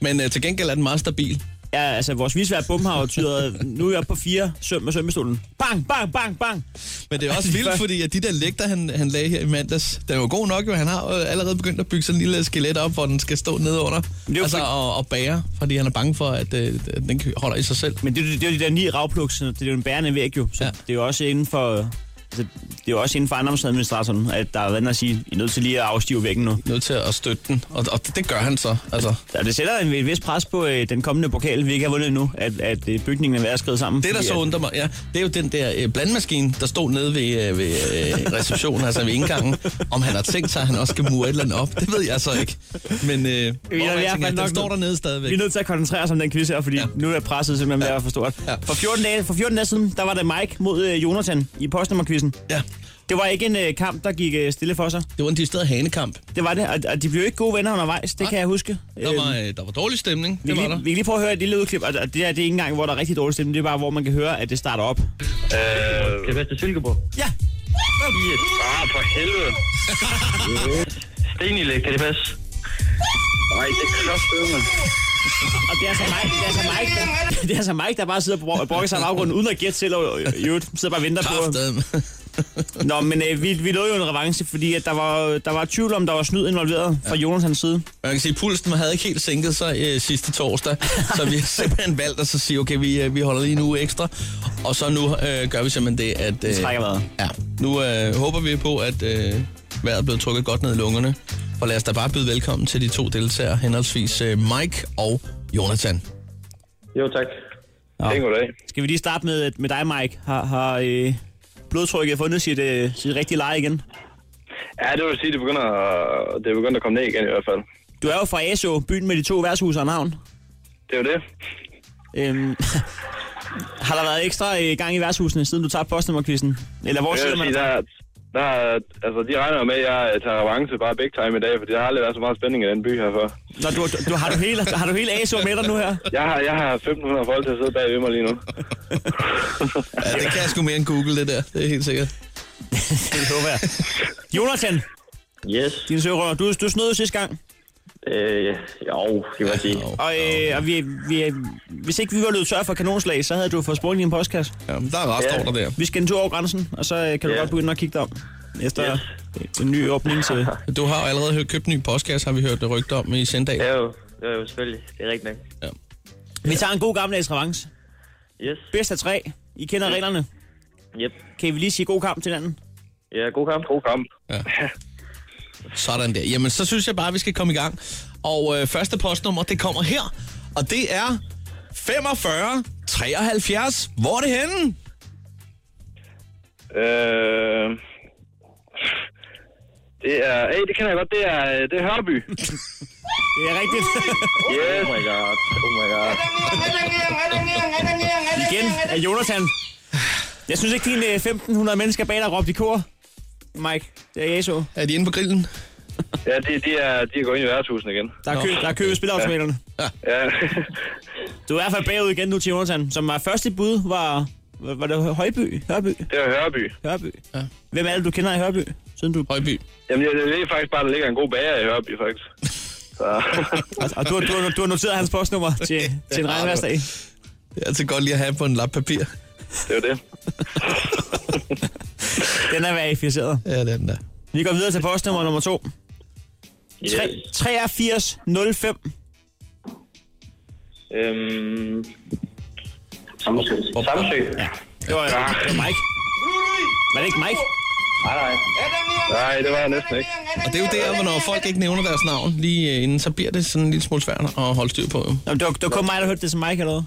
S3: Men øh, til gengæld er den meget stabil.
S4: Ja, altså, vores visvær bumhaver tyder, nu er jeg oppe på fire søm med sømmestolen. Bang, bang, bang, bang.
S3: Men det er [laughs] også vildt, fordi at de der lægter, han, han lagde her i mandags, den var god nok jo. Han har øh, allerede begyndt at bygge sådan en lille skelet op, hvor den skal stå nede under.
S4: er jo
S3: Altså
S4: fordi-
S3: og, og bære, fordi han er bange for, at, øh, at den kan- holder i sig selv.
S4: Men det, er jo- det er jo de der ni ravplugs, det er jo en bærende væg jo. Så
S3: Ja.
S4: ja. det er jo også inden for... øh, Altså, det er jo også inden for ejendomsadministratoren, at der har været inde at sige, I er nødt til lige at afstive væggen nu.
S3: Nødt til at støtte den, og, og det, det gør han så. Altså.
S4: Og det sætter en et vis pres på øh, den kommende pokal, vi ikke har vundet endnu, at, at øh, bygningen er ved at skride sammen.
S3: Det, der
S4: Fordi øh,
S3: så
S4: at-
S3: undrer mig, ja, det er jo den der øh, blandmaskine, der stod nede ved, øh, ved øh, receptionen, altså ved indgangen. Om han har tænkt sig, at han også skal mure et eller andet op, det ved jeg så ikke. Men øh, hvor
S4: i hvert
S3: jeg
S4: fald
S3: tænker, den
S4: nok-
S3: står dernede stadigvæk.
S4: Vi er nødt til at koncentrere os om den quiz her, fordi
S3: Ja.
S4: ja. nu er presset simpelthen ved at være for stort.
S3: Ja.
S4: Ja. For, 14 dage, for 14 dage siden, der var det Mike mod øh, Jonathan i postnummerquizzen.
S3: Ja,
S4: Det var ikke en øh, kamp, der gik øh, stille for sig.
S3: det var en distilleret hanekamp.
S4: Det var det, og, og de blev ikke gode venner undervejs, det
S3: Nej.
S4: kan jeg huske.
S3: Der
S4: Øhm,
S3: var, øh, der var dårlig stemning,
S4: vi,
S3: det var
S4: kan
S3: der.
S4: lige, vi kan lige prøve at høre et lille udklip, og og det der det er ikke engang, hvor der er rigtig dårlig stemning, det er bare, hvor man kan høre, at det starter op.
S10: Det var til Silkeborg.
S4: Ja,
S10: Yes. Ah, for helvede. Stenilæg, kan det passe? Nej, det er kraftedeme. mand.
S4: og det er så Mike, det er så Mike, der, det er så Mike, der bare sidder på bro- brokker sig i baggrunden, uden at gætte selv, og øh, i øvrigt sidder bare og venter på...
S3: Kraftedeme.
S4: Nå, men øh, vi, vi lå jo en revanche, fordi at der, var, der var tvivl om, der var snyd involveret fra Jonathans side.
S3: Man kan sige, at pulsen havde ikke helt sænket sig øh, sidste torsdag, så vi har simpelthen valgt at så sige, okay, vi, øh, vi holder lige en uge ekstra, og så nu øh, gør vi simpelthen det, at... Øh,
S4: trækker vejret.
S3: Ja, nu øh, håber vi på, at øh, vejret er blevet trukket godt ned i lungerne, og lad os da bare byde velkommen til de to deltagere, henholdsvis øh, Mike og Jonathan.
S10: Jo, tak. Ja. goddag.
S4: Skal vi lige starte med, øh, med dig, Mike? Har, har øh, blodtrykket fundet sit, øh, sit rigtige leje igen?
S10: Ja, det vil sige, det begynder, at- det begynder at komme ned igen i hvert fald.
S4: Du er jo fra Aso, byen med de to værtshus og navn.
S10: Det er jo det.
S4: Øhm, [laughs] har der været ekstra øh, gang i værtshusene, siden du tabte postnummerquizzen? Eller hvor
S10: Jeg
S4: sidder
S10: vil
S4: man?
S10: sige, der, der, altså, de regner jo med, at jeg tager revanche bare big time i dag, for der har aldrig været så meget spænding i den by her før.
S4: Nå, du, du, du, har, du hele, har du hele Aso med dig nu
S10: [laughs]
S4: her?
S10: Jeg har, jeg har 1.500 folk til at sidde bagved mig lige nu.
S3: Ja, det kan jeg sgu mere end Google, det der, det er helt sikkert.
S4: Det håber jeg. Jonathan,
S10: Yes.
S4: din søvrøver, du, du snød jo sidste gang.
S10: Øh, jo, det var sige.
S4: Og, øh, og vi, vi, hvis ikke vi var løbet tør for kanonslag, så havde du fået sprunget i en postkasse.
S3: Ja, men der er restordre der.
S4: Vi skal en tur over grænsen, og så øh, kan du
S10: Ja.
S4: godt begynde at kigge dig om. Efter øh, en ny
S10: [laughs]
S4: åbning til...
S3: Du har jo allerede hø- købt en ny postkasse, har vi hørt det rygte om i Sendal.
S10: Ja, jo. Det er jo selvfølgelig. Det er rigtigt nok.
S4: Vi tager en god gammeldags revanche.
S10: Yes.
S4: Bedst af tre. I kender reglerne.
S10: Yep.
S4: Kan vi lige sige god kamp til hinanden?
S10: Ja, god kamp. God kamp.
S3: Sådan der. Jamen, så synes jeg bare, at vi skal komme i gang. Og øh, første postnummer, det kommer her. Og det er 45 73. Hvor er det henne?
S10: Øh, det er... Hey, det kender jeg godt. Det er, det er Hørby.
S4: Det er rigtigt.
S10: Yes. Oh my god. Oh my god.
S4: Igen af Jonathan. Jeg synes ikke, dine øh, 1.500 mennesker bag dig råbte i kor. Mike, det er jeg så.
S3: Er de inde på grillen?
S10: Ja, de, de, er, de er gået ind i værtshusen igen.
S4: Der er kø, der er kø ved spilleautomaterne.
S10: Ja. [laughs]
S4: Du er i hvert fald bagud igen nu til Jonathan, som var første bud, var... var- Var det Højby? Hørby?
S10: det er Hørby.
S4: Hørby?
S3: Ja.
S4: Hvem er det, du kender i Hørby? Siden du...
S3: Højby.
S10: Jamen, jeg, jeg ved faktisk bare, der ligger en god bager i Hørby, faktisk. Så.
S4: Og, og du, har- du, har- du, har noteret hans postnummer til, til en regnværsdag.
S3: Det er altid godt lige at have på en lap papir.
S10: det er jo det.
S4: Den er verificeret.
S3: Ja, det er den der.
S4: Vi går videre til postnummer nummer to.
S10: Yes.
S4: Tre- 8305.
S10: Øhm... Samsø. Samsø.
S4: Det var, det var Mike. Var det ikke Mike?
S10: Nej, nej. Nej, det var jeg næsten ikke.
S3: Og det er jo der, hvor når folk ikke nævner deres navn lige øh, inden, så bliver det sådan en lille smule svært at holde styr på. jo.
S4: Nå, men det, var, det var kun mig, der hørte det som Mike eller hvad?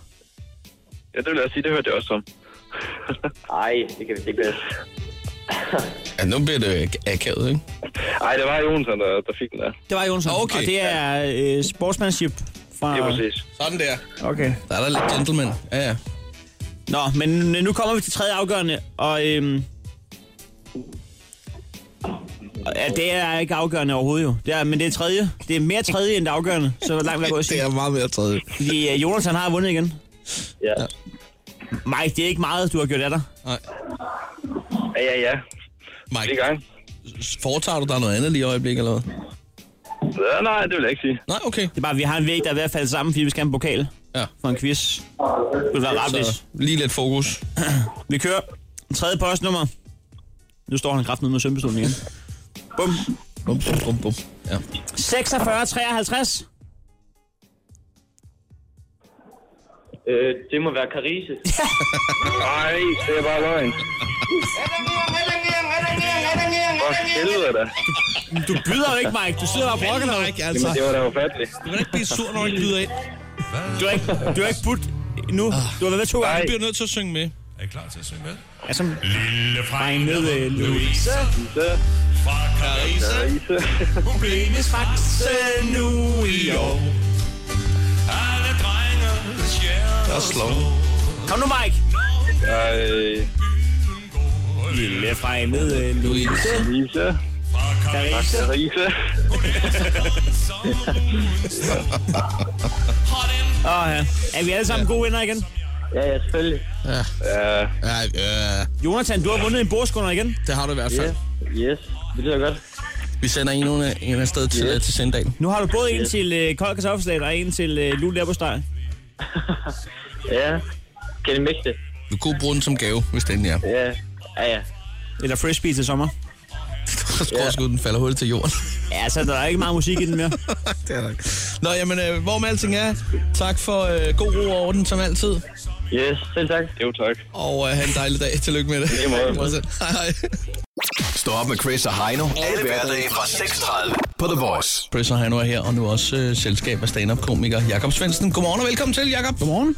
S10: Ja, det vil jeg sige, det hørte jeg også om. Nej, det kan vi ikke passe.
S3: Ja, nu bliver det øh, akavet, ikke?
S10: Nej, det var Jonsson, der, der fik den der.
S4: Det var Jonsson.
S3: Okay.
S4: Og det er øh, sportsmanship fra...
S10: Det er præcis.
S3: Sådan der.
S4: Okay.
S3: Der er der lidt gentleman. Ja, ja.
S4: Nå, men øh, nu kommer vi til tredje afgørende, og øhm, og, ja, det er ikke afgørende overhovedet jo. Det er, men det er tredje. Det er mere tredje end det afgørende, så langt vil jeg gå
S10: [laughs]
S4: at sige.
S3: er meget mere tredje.
S4: Fordi øh, Jonathan har vundet igen.
S10: Ja.
S4: Mike, det er ikke meget, du har gjort af dig.
S3: Nej.
S10: Ja, ja, ja. Det
S3: Mike,
S10: er i gang.
S3: foretager du dig noget andet lige i øjeblikket, eller hvad?
S10: Ja, Øh, nej, det vil jeg ikke sige.
S3: Nej, okay.
S4: Det er bare, vi har en væg, der er ved at falde sammen, fordi vi skal have en pokal
S3: Ja.
S4: for en quiz. Det vil være rart,
S3: Så
S4: hvis
S3: lige lidt fokus.
S4: Vi kører. Tredje postnummer. Nu står han kraft ned med sømpistolen igen. Bum.
S3: Bum, bum, bum, bum. Ja.
S4: 46, 53.
S11: Øh, det må være Carise.
S10: Nej, det er bare løgn. For helvede da.
S4: Du byder jo ikke, Mike. Du sidder bare og brokker dig.
S3: Ikke,
S10: Jamen, det
S3: altså.
S10: var da ufatteligt.
S3: Du kan ikke blive sur, når du ikke byder ind.
S4: Du har ikke, du har ikke budt nu. Du har været med to
S3: Du
S4: gange.
S3: bliver nødt til at synge med.
S12: Er I klar til at synge med?
S4: Altså,
S12: Lille
S4: Dreng ned ved
S12: Louise fra Carise. Hun blindes faxe nu i år. Alle drenges hjerter
S3: er slow.
S4: kom nu, Mike.
S10: Nej,
S4: Øh. Lille fremmed Louise.
S10: Lisa.
S4: Carise.
S10: Lisa.
S4: Åh, ja. Er vi alle sammen gode venner igen?
S7: Ja, ja, selvfølgelig.
S10: Ja,
S3: Ja, øh,
S4: Jonathan, du har vundet en bordskunder igen.
S3: det har du i hvert fald.
S7: Ja. Yes, det lyder godt.
S3: Vi sender en, under, en afsted til, yes. til Sendal.
S4: Nu har du både en til øh, kold kartoffelsalat og en til øh, lul på
S7: Ja, kan I mixe det?
S3: Du kunne bruge den som gave, hvis den er. [laughs]
S7: Ja, ja, ja.
S4: Eller frisbee til sommer.
S3: Så tror jeg, den falder hul til jorden. [laughs]
S4: Ja, så der er ikke meget musik i den mere.
S3: det er der ikke. Nå, jamen, øh, hvor med alting er, tak for øh, god ro og orden, som altid.
S7: Yes, selv tak.
S10: jo tak.
S3: Og øh, have en dejlig dag. Tillykke med det.
S10: I lige måde.
S3: Hej, hej.
S5: Stå op med Chris og Heino. Alle hverdage fra 6.30 på The Voice.
S3: Chris og Heino er her, og nu også øh, selskab af stand-up-komiker Jakob Svendsen. Godmorgen og velkommen til, Jakob.
S4: Godmorgen.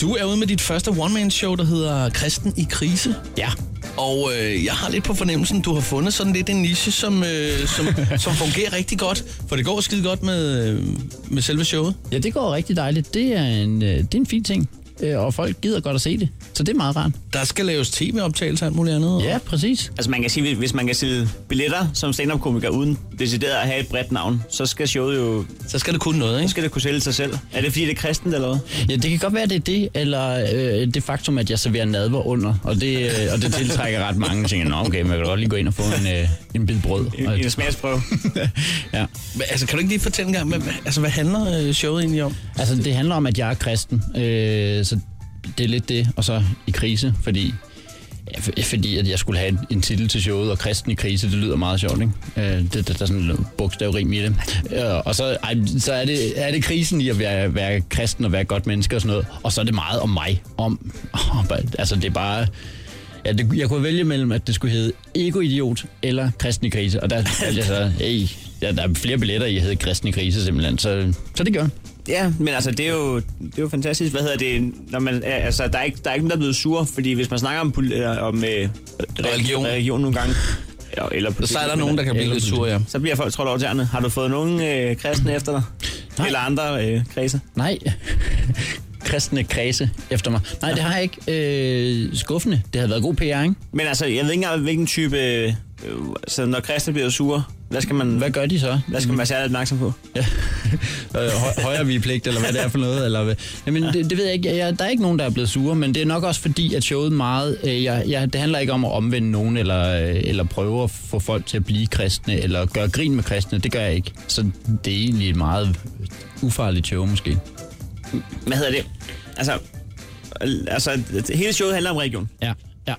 S3: Du er ude med dit første one-man-show, der hedder Kristen i krise.
S4: Ja.
S3: Og øh, jeg har lidt på fornemmelsen, du har fundet sådan lidt en niche, som, øh, som, som fungerer rigtig godt. For det går skide godt med, øh, med selve showet.
S8: Ja, det går rigtig dejligt. Det er en, øh, det er en fin ting, øh, og folk gider godt at se det. Så det er meget rart.
S3: Der skal laves tv-optagelser og alt muligt andet.
S8: Ja, præcis.
S4: Altså man kan sige, hvis- hvis man kan sælge billetter som stand-up-komiker uden decideret at have et bredt navn, så skal showet jo,
S3: Så skal det kunne noget,
S4: så
S3: ikke?
S4: skal det kunne sælge sig selv. Er det fordi, det er kristent eller hvad?
S8: Ja, det kan godt være, det er det, eller øh, det faktum, at jeg serverer nadver under, og det, øh, og det tiltrækker ret mange. Jeg tænker, nå okay, man kan godt lige gå ind og få en, øh, en bid brød.
S4: En,
S8: Og-
S4: en smagsprøve.
S8: ja.
S3: Men, altså, kan du ikke lige fortælle en gang, hvad, altså, hvad handler øh, showet egentlig om?
S8: Altså, det handler om, at jeg er kristen, øh, så det er lidt det, og så i krise, fordi, ja, for- fordi at jeg skulle have en, en titel til showet, og kristen i krise, det lyder meget sjovt, ikke? Øh, det, det, der er sådan noget bogstavrim i det. Øh, og så, ej, så er, det, er det krisen i at være, være kristen og være et godt menneske og sådan noget, og så er det meget om mig, om, om altså det er bare... Ja, det, jeg kunne vælge mellem, at det skulle hedde Egoidiot eller Kristen i krise, og der
S3: [laughs]
S8: valgte jeg så, hey, ja, der er flere billetter i at hedde Kristen i krise simpelthen, så, så det gør jeg.
S4: Ja, men altså det er jo, det er jo fantastisk. Hvad hedder det? Når man, ja, altså, der, er ikke, der er ikke nogen, der er blevet sur, fordi hvis man snakker om, poli- øh, om øh,
S3: Religion.
S4: religion nogle gange, eller, eller politik,
S3: Så er der
S4: men-
S3: nogen, der kan blive lidt sur, ja.
S4: så bliver folk trådt over tæerne. Har du fået nogen øh, kristne efter dig?
S8: Nej.
S4: Eller andre øh, kredse?
S8: Nej. [laughs] kristne kredse efter mig. Nej, det har jeg ikke. Øh, skuffende. Det har været god PR, ikke?
S4: Men altså, jeg ved ikke engang, hvilken type... Øh, så når kristne bliver sure, hvad skal man, hvad,
S8: Hvad gør de så?
S4: hvad skal man være særligt opmærksom på?
S8: Ja. Øh, høj- Højere vigepligt, eller hvad det er for noget? Eller hvad? Jamen, det, det ved jeg ikke. Jeg, der er ikke nogen, der er blevet sure, men det er nok også fordi, at showet meget... Øh, jeg, jeg, det handler ikke om at omvende nogen, eller, øh, eller prøve at få folk til at blive kristne, eller gøre grin med kristne. Det gør jeg ikke. Så det er egentlig et meget ufarligt show, måske.
S4: Hvad hedder det? Altså, altså hele showet handler om religion.
S8: Ja, ja.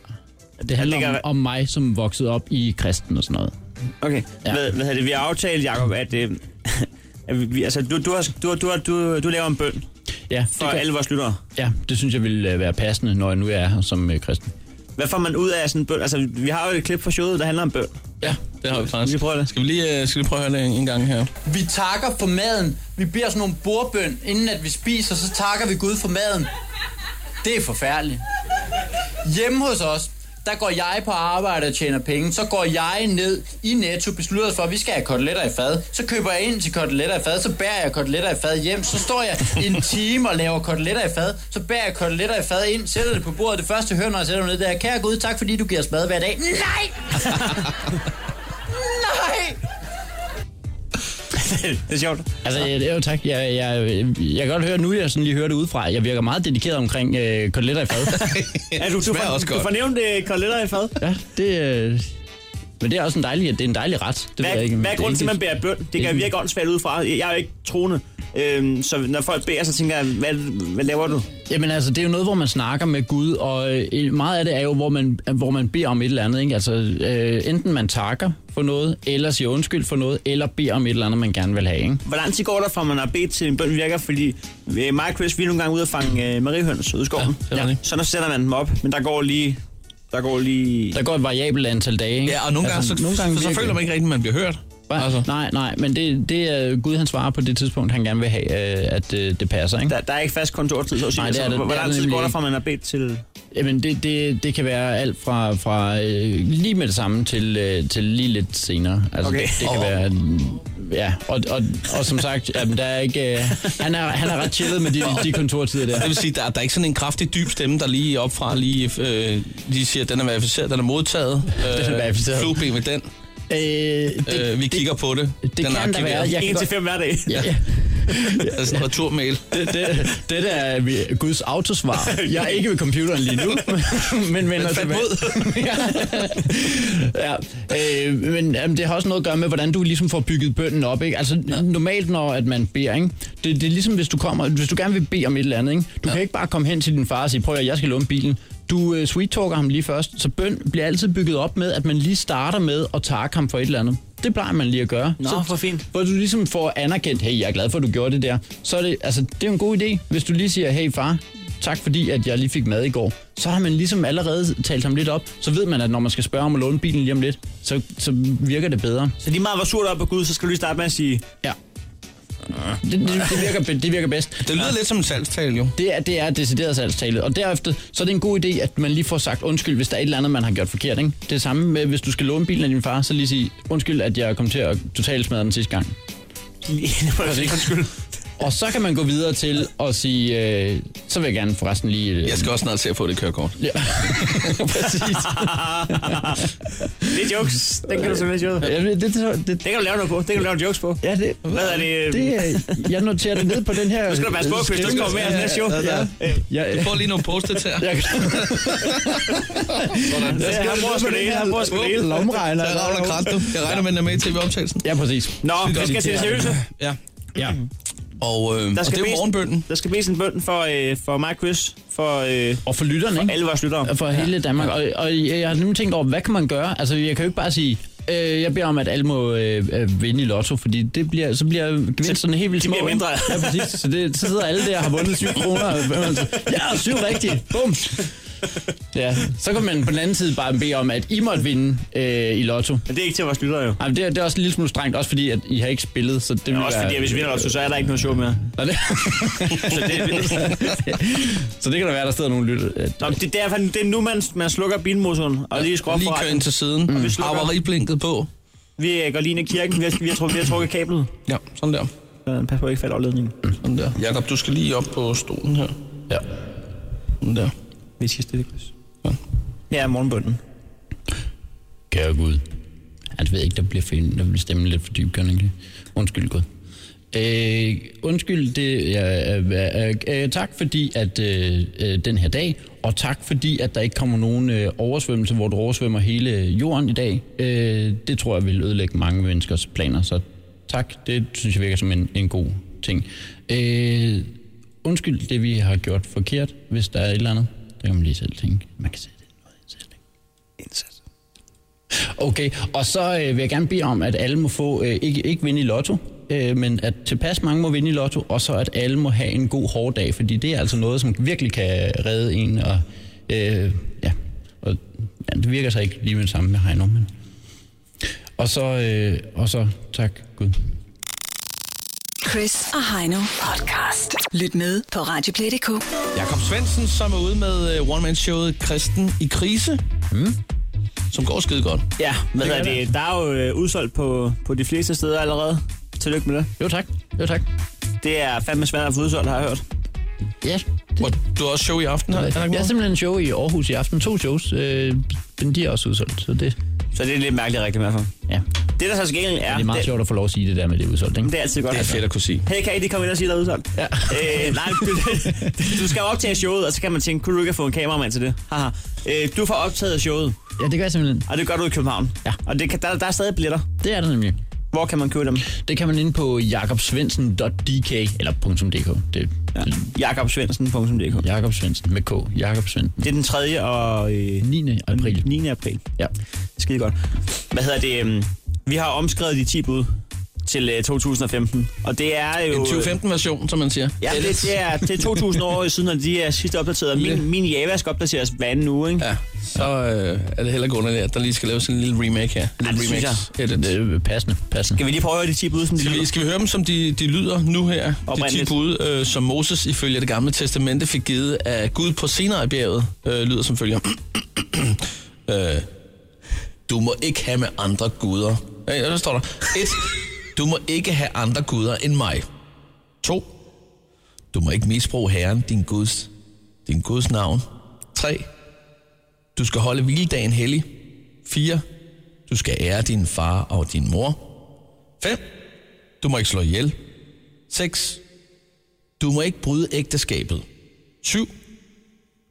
S8: Det handler
S4: ligger-
S8: om, om mig, som voksede op i kristen og sådan noget.
S4: Okay.
S8: Ja.
S4: Ja. Hvad, hvad hedder det? Vi har aftalt, Jacob, at... Øh, [laughs] at vi, altså, du, du, har, du, har- du, har- du, du laver en bøn
S8: Ja,
S4: for
S8: det gør-
S4: alle vores lyttere.
S8: Ja, det synes jeg ville øh, være passende, når jeg nu er her som øh, kristen.
S4: Hvad får man ud af sådan en bøn? Altså, vi har jo et klip fra showet, der handler om bøn.
S3: Ja, det har
S4: Skal
S3: vi
S4: vi
S3: faktisk.
S4: prøve det?
S3: Skal vi lige, øh, skal vi lige prøve at høre det en, en gang her?
S8: Vi takker for maden. Vi beder sådan nogle bordbøn, inden at vi spiser, så takker vi Gud for maden. Det er forfærdeligt. Hjemme hos os, der går jeg på arbejde og tjener penge. Så går jeg ned i Netto, beslutter os for, at vi skal have koteletter i fad. Så køber jeg ind til koteletter i fad, så bærer jeg koteletter i fad hjem. Så står jeg en time og laver koteletter i fad. Så bærer jeg koteletter i fad ind, sætter det på bordet. Det første jeg hører, når jeg sætter mig ned, det er, kære Gud, tak fordi du giver os mad hver dag. Nej! Nej!
S4: [laughs] det er sjovt.
S8: Altså, ja. jo tak. Jeg, jeg, jeg kan godt høre nu, jeg sådan lige hører det udefra. Jeg virker meget dedikeret omkring øh,
S3: [laughs]
S8: koteletter i fad.
S4: Ja, du, du,
S3: smager
S4: får,
S3: også
S4: du
S3: godt.
S4: får nævnt øh, koteletter i fad.
S8: ja, det, øh, Men det er også en dejlig, det er en dejlig ret. Det ved jeg ikke.
S4: Hvad er
S8: Det
S4: grunden til, at man
S8: ikke-
S4: bærer bøn? Det kan
S8: ikke-
S4: virke åndssvagt ud fra. Jeg er jo ikke troende. Øhm, så når folk bærer, så tænker jeg, hvad, hvad laver du?
S8: Jamen altså, det er jo noget, hvor man snakker med Gud, og øh, meget af det er jo, hvor man, hvor man beder om et eller andet. Ikke? Altså, øh, enten man takker for noget, eller siger undskyld for noget, eller beder om et eller andet, man gerne vil have. Ikke?
S4: Hvor lang tid går der fra, man har bedt til en bøn virker? Fordi øh, mig og Chris, vi er nogle gange ude og fange øh, mariehøns ude i skoven. Ja, ja. Så nu sætter man dem op, men der går lige... Der går lige...
S8: Der går et variabelt antal dage. Ikke?
S3: Ja, og nogle gange, så- så- så føler man ikke rigtigt, man bliver hørt.
S8: Altså. Nej, nej, men det, det er Gud, han svarer på det tidspunkt, han gerne vil have, øh, at øh, det passer. Ikke?
S4: Der, der er ikke fast kontortid, så at sige.
S8: Nej, det er
S4: Altså,
S8: det.
S4: hvor- hvor
S8: det er
S4: lang tid
S8: nemlig
S4: går der
S8: ikke.
S4: fra, man har bedt til...
S8: Jamen, det, det, det kan være alt fra, fra øh, lige med det samme til, øh, til lige lidt senere. Altså,
S4: Okay.
S8: det, det kan
S4: Og-
S8: være... Ja, og, og, og som sagt, jamen, der er ikke, øh, han, er, han er ret chillet med de, de kontortider
S3: [laughs]
S8: der.
S3: Det vil sige, der, er- der er ikke sådan en kraftig dyb stemme, der lige opfra lige, øh, lige siger, den er verificeret, den er
S8: [laughs]
S3: modtaget.
S8: Den er verificeret.
S3: Flueben med den.
S8: Øh,
S3: det, øh, vi kigger på det. Det den er
S8: kan der være. Jeg kan En godt- til
S4: fem hver dag.
S8: Ja. [laughs] ja.
S3: altså en returmail.
S8: Det, det, det der er vi- Guds autosvar. Jeg er ikke ved computeren lige nu, [laughs] men vender
S3: fandt
S8: tilbage. [laughs] ja. ja. Øh, men jamen, det har også noget at gøre med, hvordan du ligesom får bygget bønden op. Ikke? Altså ja. normalt, når at man beder, ikke? Det, det er ligesom, hvis du, kommer, hvis du gerne vil bede om et eller andet. Ikke? Du ja. kan ikke bare komme hen til din far og sige, prøv at høre, jeg skal låne bilen. Du øh, sweet-talker ham lige først, så bøn bliver altid bygget op med, at man lige starter med at takke ham for et eller andet. Det plejer man lige at gøre.
S4: Nå,
S8: så,
S4: hvor fint.
S8: Hvor du ligesom får anerkendt, hey, jeg er glad for, at du gjorde det der. Så er det, altså, det er jo en god idé, hvis du lige siger, hey far, tak fordi, at jeg lige fik mad i går. Så har man ligesom allerede talt ham lidt op. Så ved man, at når man skal spørge om at låne bilen lige om lidt, så, så virker det bedre.
S4: Så lige meget, hvor sur du er på Gud, så skal du lige starte med at sige...
S8: Ja. Det, det, det, virker, be- det virker bedst.
S3: Det lyder lidt som en salgstale, jo.
S8: Det er, det er decideret salgstalet. Og derefter, så er det en god idé, at man lige får sagt undskyld, hvis der er et eller andet, man har gjort forkert. Ikke? Det er samme med, hvis du skal låne bilen af din far, så lige sige undskyld, at jeg kom til at totalt smadre den sidste gang. Altså, ikke? Og så kan man gå videre til at sige, øh, så vil jeg gerne forresten lige... Øh,
S3: Jeg skal også snart se at få det kørekort.
S8: Ja. [laughs] Præcis.
S4: Det er jokes. Den kan du simpelthen sjovt.
S8: Ja, det, det, det,
S4: Det kan du lave noget på. Det kan du lave jokes på.
S8: Ja, det,
S4: Hvad er det? øh,
S8: det er, jeg noterer det ned på den her...
S4: Nu skal Øhm. du passe på, Chris. Du skal komme med i den her show.
S8: Ja, ja.
S3: Jeg får lige nogle
S8: [laughs]
S3: post-its her.
S8: Jeg kan-
S3: Sådan.
S4: Ja, han bruger sgu det hele, han bruger sgu det hele.
S8: Lomregner.
S3: Der er Ravler Krat, du. Jeg regner med, den er med i tv-optagelsen.
S8: Ja, præcis.
S4: Nå, vi skal til det seriøse.
S3: Ja.
S8: Ja.
S3: Og, øh, og det er jo
S4: bedes-
S3: morgenbønden.
S4: Der skal bedes en bøn for, øh, for mig, Chris, for, øh,
S8: Og for lytterne,
S4: for
S8: ikke?
S4: alle vores lyttere.
S8: for hele Danmark. Og, og jeg jeg har nemlig tænkt over, hvad kan man gøre? Altså, jeg kan jo ikke bare sige, øh, jeg beder om, at alle må øh, øh, vinde i lotto, fordi det bliver, så bliver gevinsterne helt vildt
S4: de
S8: små.
S4: bliver
S8: ikke?
S4: mindre.
S8: Ja, præcis. Så, det, så sidder alle der og har vundet 7 kroner. og man siger, Ja, 7 rigtigt. Bum. Ja, så kan man på den anden side bare bede om, at I måtte vinde øh, i lotto.
S4: Men det er ikke til vores lyttere, jo.
S8: Ej, men det, er, det er også en lille smule strengt, også fordi, at I har ikke spillet, så det vil
S4: Men også
S8: være...
S4: fordi, at hvis vi vinder også, så er der ikke noget show mere.
S8: Nå, det...
S4: Så det,
S8: så det kan da være, der sidder nogle lytter. øh,
S4: Nå, men det er derfor, det er nu, man, man slukker bilmotoren og lige skruer op
S3: Lige
S4: for
S3: kører
S4: radioen.
S3: ind til siden.
S4: vi slukker.
S3: Havariblinket på.
S4: Vi øh, går lige ind i kirken. Vi har, vi har, trukket, vi har trukket kablet.
S3: Ja, sådan der.
S4: Så Pas på, at ikke falder over ledningen.
S3: Sådan der. Jakob, du skal lige op på stolen her.
S8: Ja.
S3: Sådan der.
S4: Vi skal stille, Chris. Her er morgenbønden.
S8: Kære Gud. Jeg ved ikke, der bliver, find, der bliver stemmen lidt for dyb, kan ikke? Undskyld, Gud. Øh, undskyld, det, ja, øh, øh, øh, tak fordi, at øh, øh, den her dag, og tak fordi, at der ikke kommer nogen øh, oversvømmelse, hvor du oversvømmer hele jorden i dag. Øh, det tror jeg vil ødelægge mange menneskers planer, så tak. Det synes jeg virker som en, en god ting. Øh, undskyld, det vi har gjort forkert, hvis der er et eller andet. Det kan man lige selv tænke. Man kan sætte noget selv, ikke? Okay, og så øh, vil jeg gerne bede om, at alle må få, øh, ikke, ikke vinde i lotto, øh, men at tilpas mange må vinde i lotto, og så at alle må have en god hård dag, fordi det er altså noget, som virkelig kan redde en, og, øh, ja, og ja, det virker så ikke lige med det samme med Heino, men... Og så, øh, og så tak Gud.
S2: Chris og Heino podcast. Lyt med på Radioplay.dk.
S3: Jakob Svendsen, som er ude med øh, one-man-showet Kristen i krise.
S8: Mm.
S3: Som går skide godt.
S4: Ja, hvad hedder det? Der er jo øh, udsolgt på, på de fleste steder allerede. Tillykke med det.
S8: Jo tak, jo tak.
S4: Det er fandme svært at få udsolgt, har jeg hørt.
S8: Ja,
S3: Og du har også show i aften her. Er der ikke
S8: jeg har
S3: noget?
S8: simpelthen en show i Aarhus i aften, to shows, øh, men de er også udsolgt, så det,
S4: Så det er lidt mærkeligt rigtigt i hvert fald.
S8: ja.
S4: Det, der så skal gengæld er...
S8: det er meget sjovt at få lov at sige det der med det er udsolgt, ikke?
S4: Det er altid godt.
S3: Det er fedt at kunne sige.
S4: Hey, kan I lige komme ind og sige, der er udsolgt? Ja. Øh, nej, du, [laughs] du skal jo optage showet, og så kan man tænke, kunne du ikke have fået en kameramand til det? Haha. Øh, du får optaget showet.
S8: Ja, det gør jeg simpelthen.
S4: Og det gør du i København? Ja. Og det kan, der, der er stadig billetter?
S8: Det er der nemlig.
S4: Hvor kan man købe dem?
S8: Det kan man inde på jakobsvensen.dk eller .dk. Det, ja.
S4: Jakobsvensen.dk.
S8: Jakobsvensen med K. Jakobsvensen.
S4: Det er den 3. og... Øh,
S8: 9. april.
S4: 9. april.
S8: Ja.
S4: Skide godt. Hvad hedder det? øhm, Vi har omskrevet de 10 bud til øh, 2015. Og det er jo... øh.
S3: En 2015-version, som man siger.
S4: Ja, det, det, er, det er 2000 år siden, at de er sidst opdateret. og Min, min Java skal opdateres hver anden uge, ikke?
S3: Ja, så øh, er det heller grundet, at der lige skal laves en lille remake her. En
S4: Ja,
S3: lille
S4: det synes
S3: remix. Edit.
S8: Det er passende. passende.
S4: Kan vi lige prøve at høre de 10 bud, som de
S3: Skal vi,
S4: lyder?
S3: skal vi høre dem, som de, de lyder nu her? De ti
S4: Oprindeligt.
S3: bud, øh, som Moses ifølge det gamle testamente fik givet af Gud på senere bjerget, øh, lyder som følger. [clears throat] øh, du må ikke have med andre guder. Øh, der står der. Et, du må ikke have andre guder end mig. To, du må ikke misbruge Herren, din Guds, din Guds navn. Tre, du skal holde hviledagen hellig. Fire, du skal ære din far og din mor. 5. Du må ikke slå ihjel. 6. Du må ikke bryde ægteskabet. 7.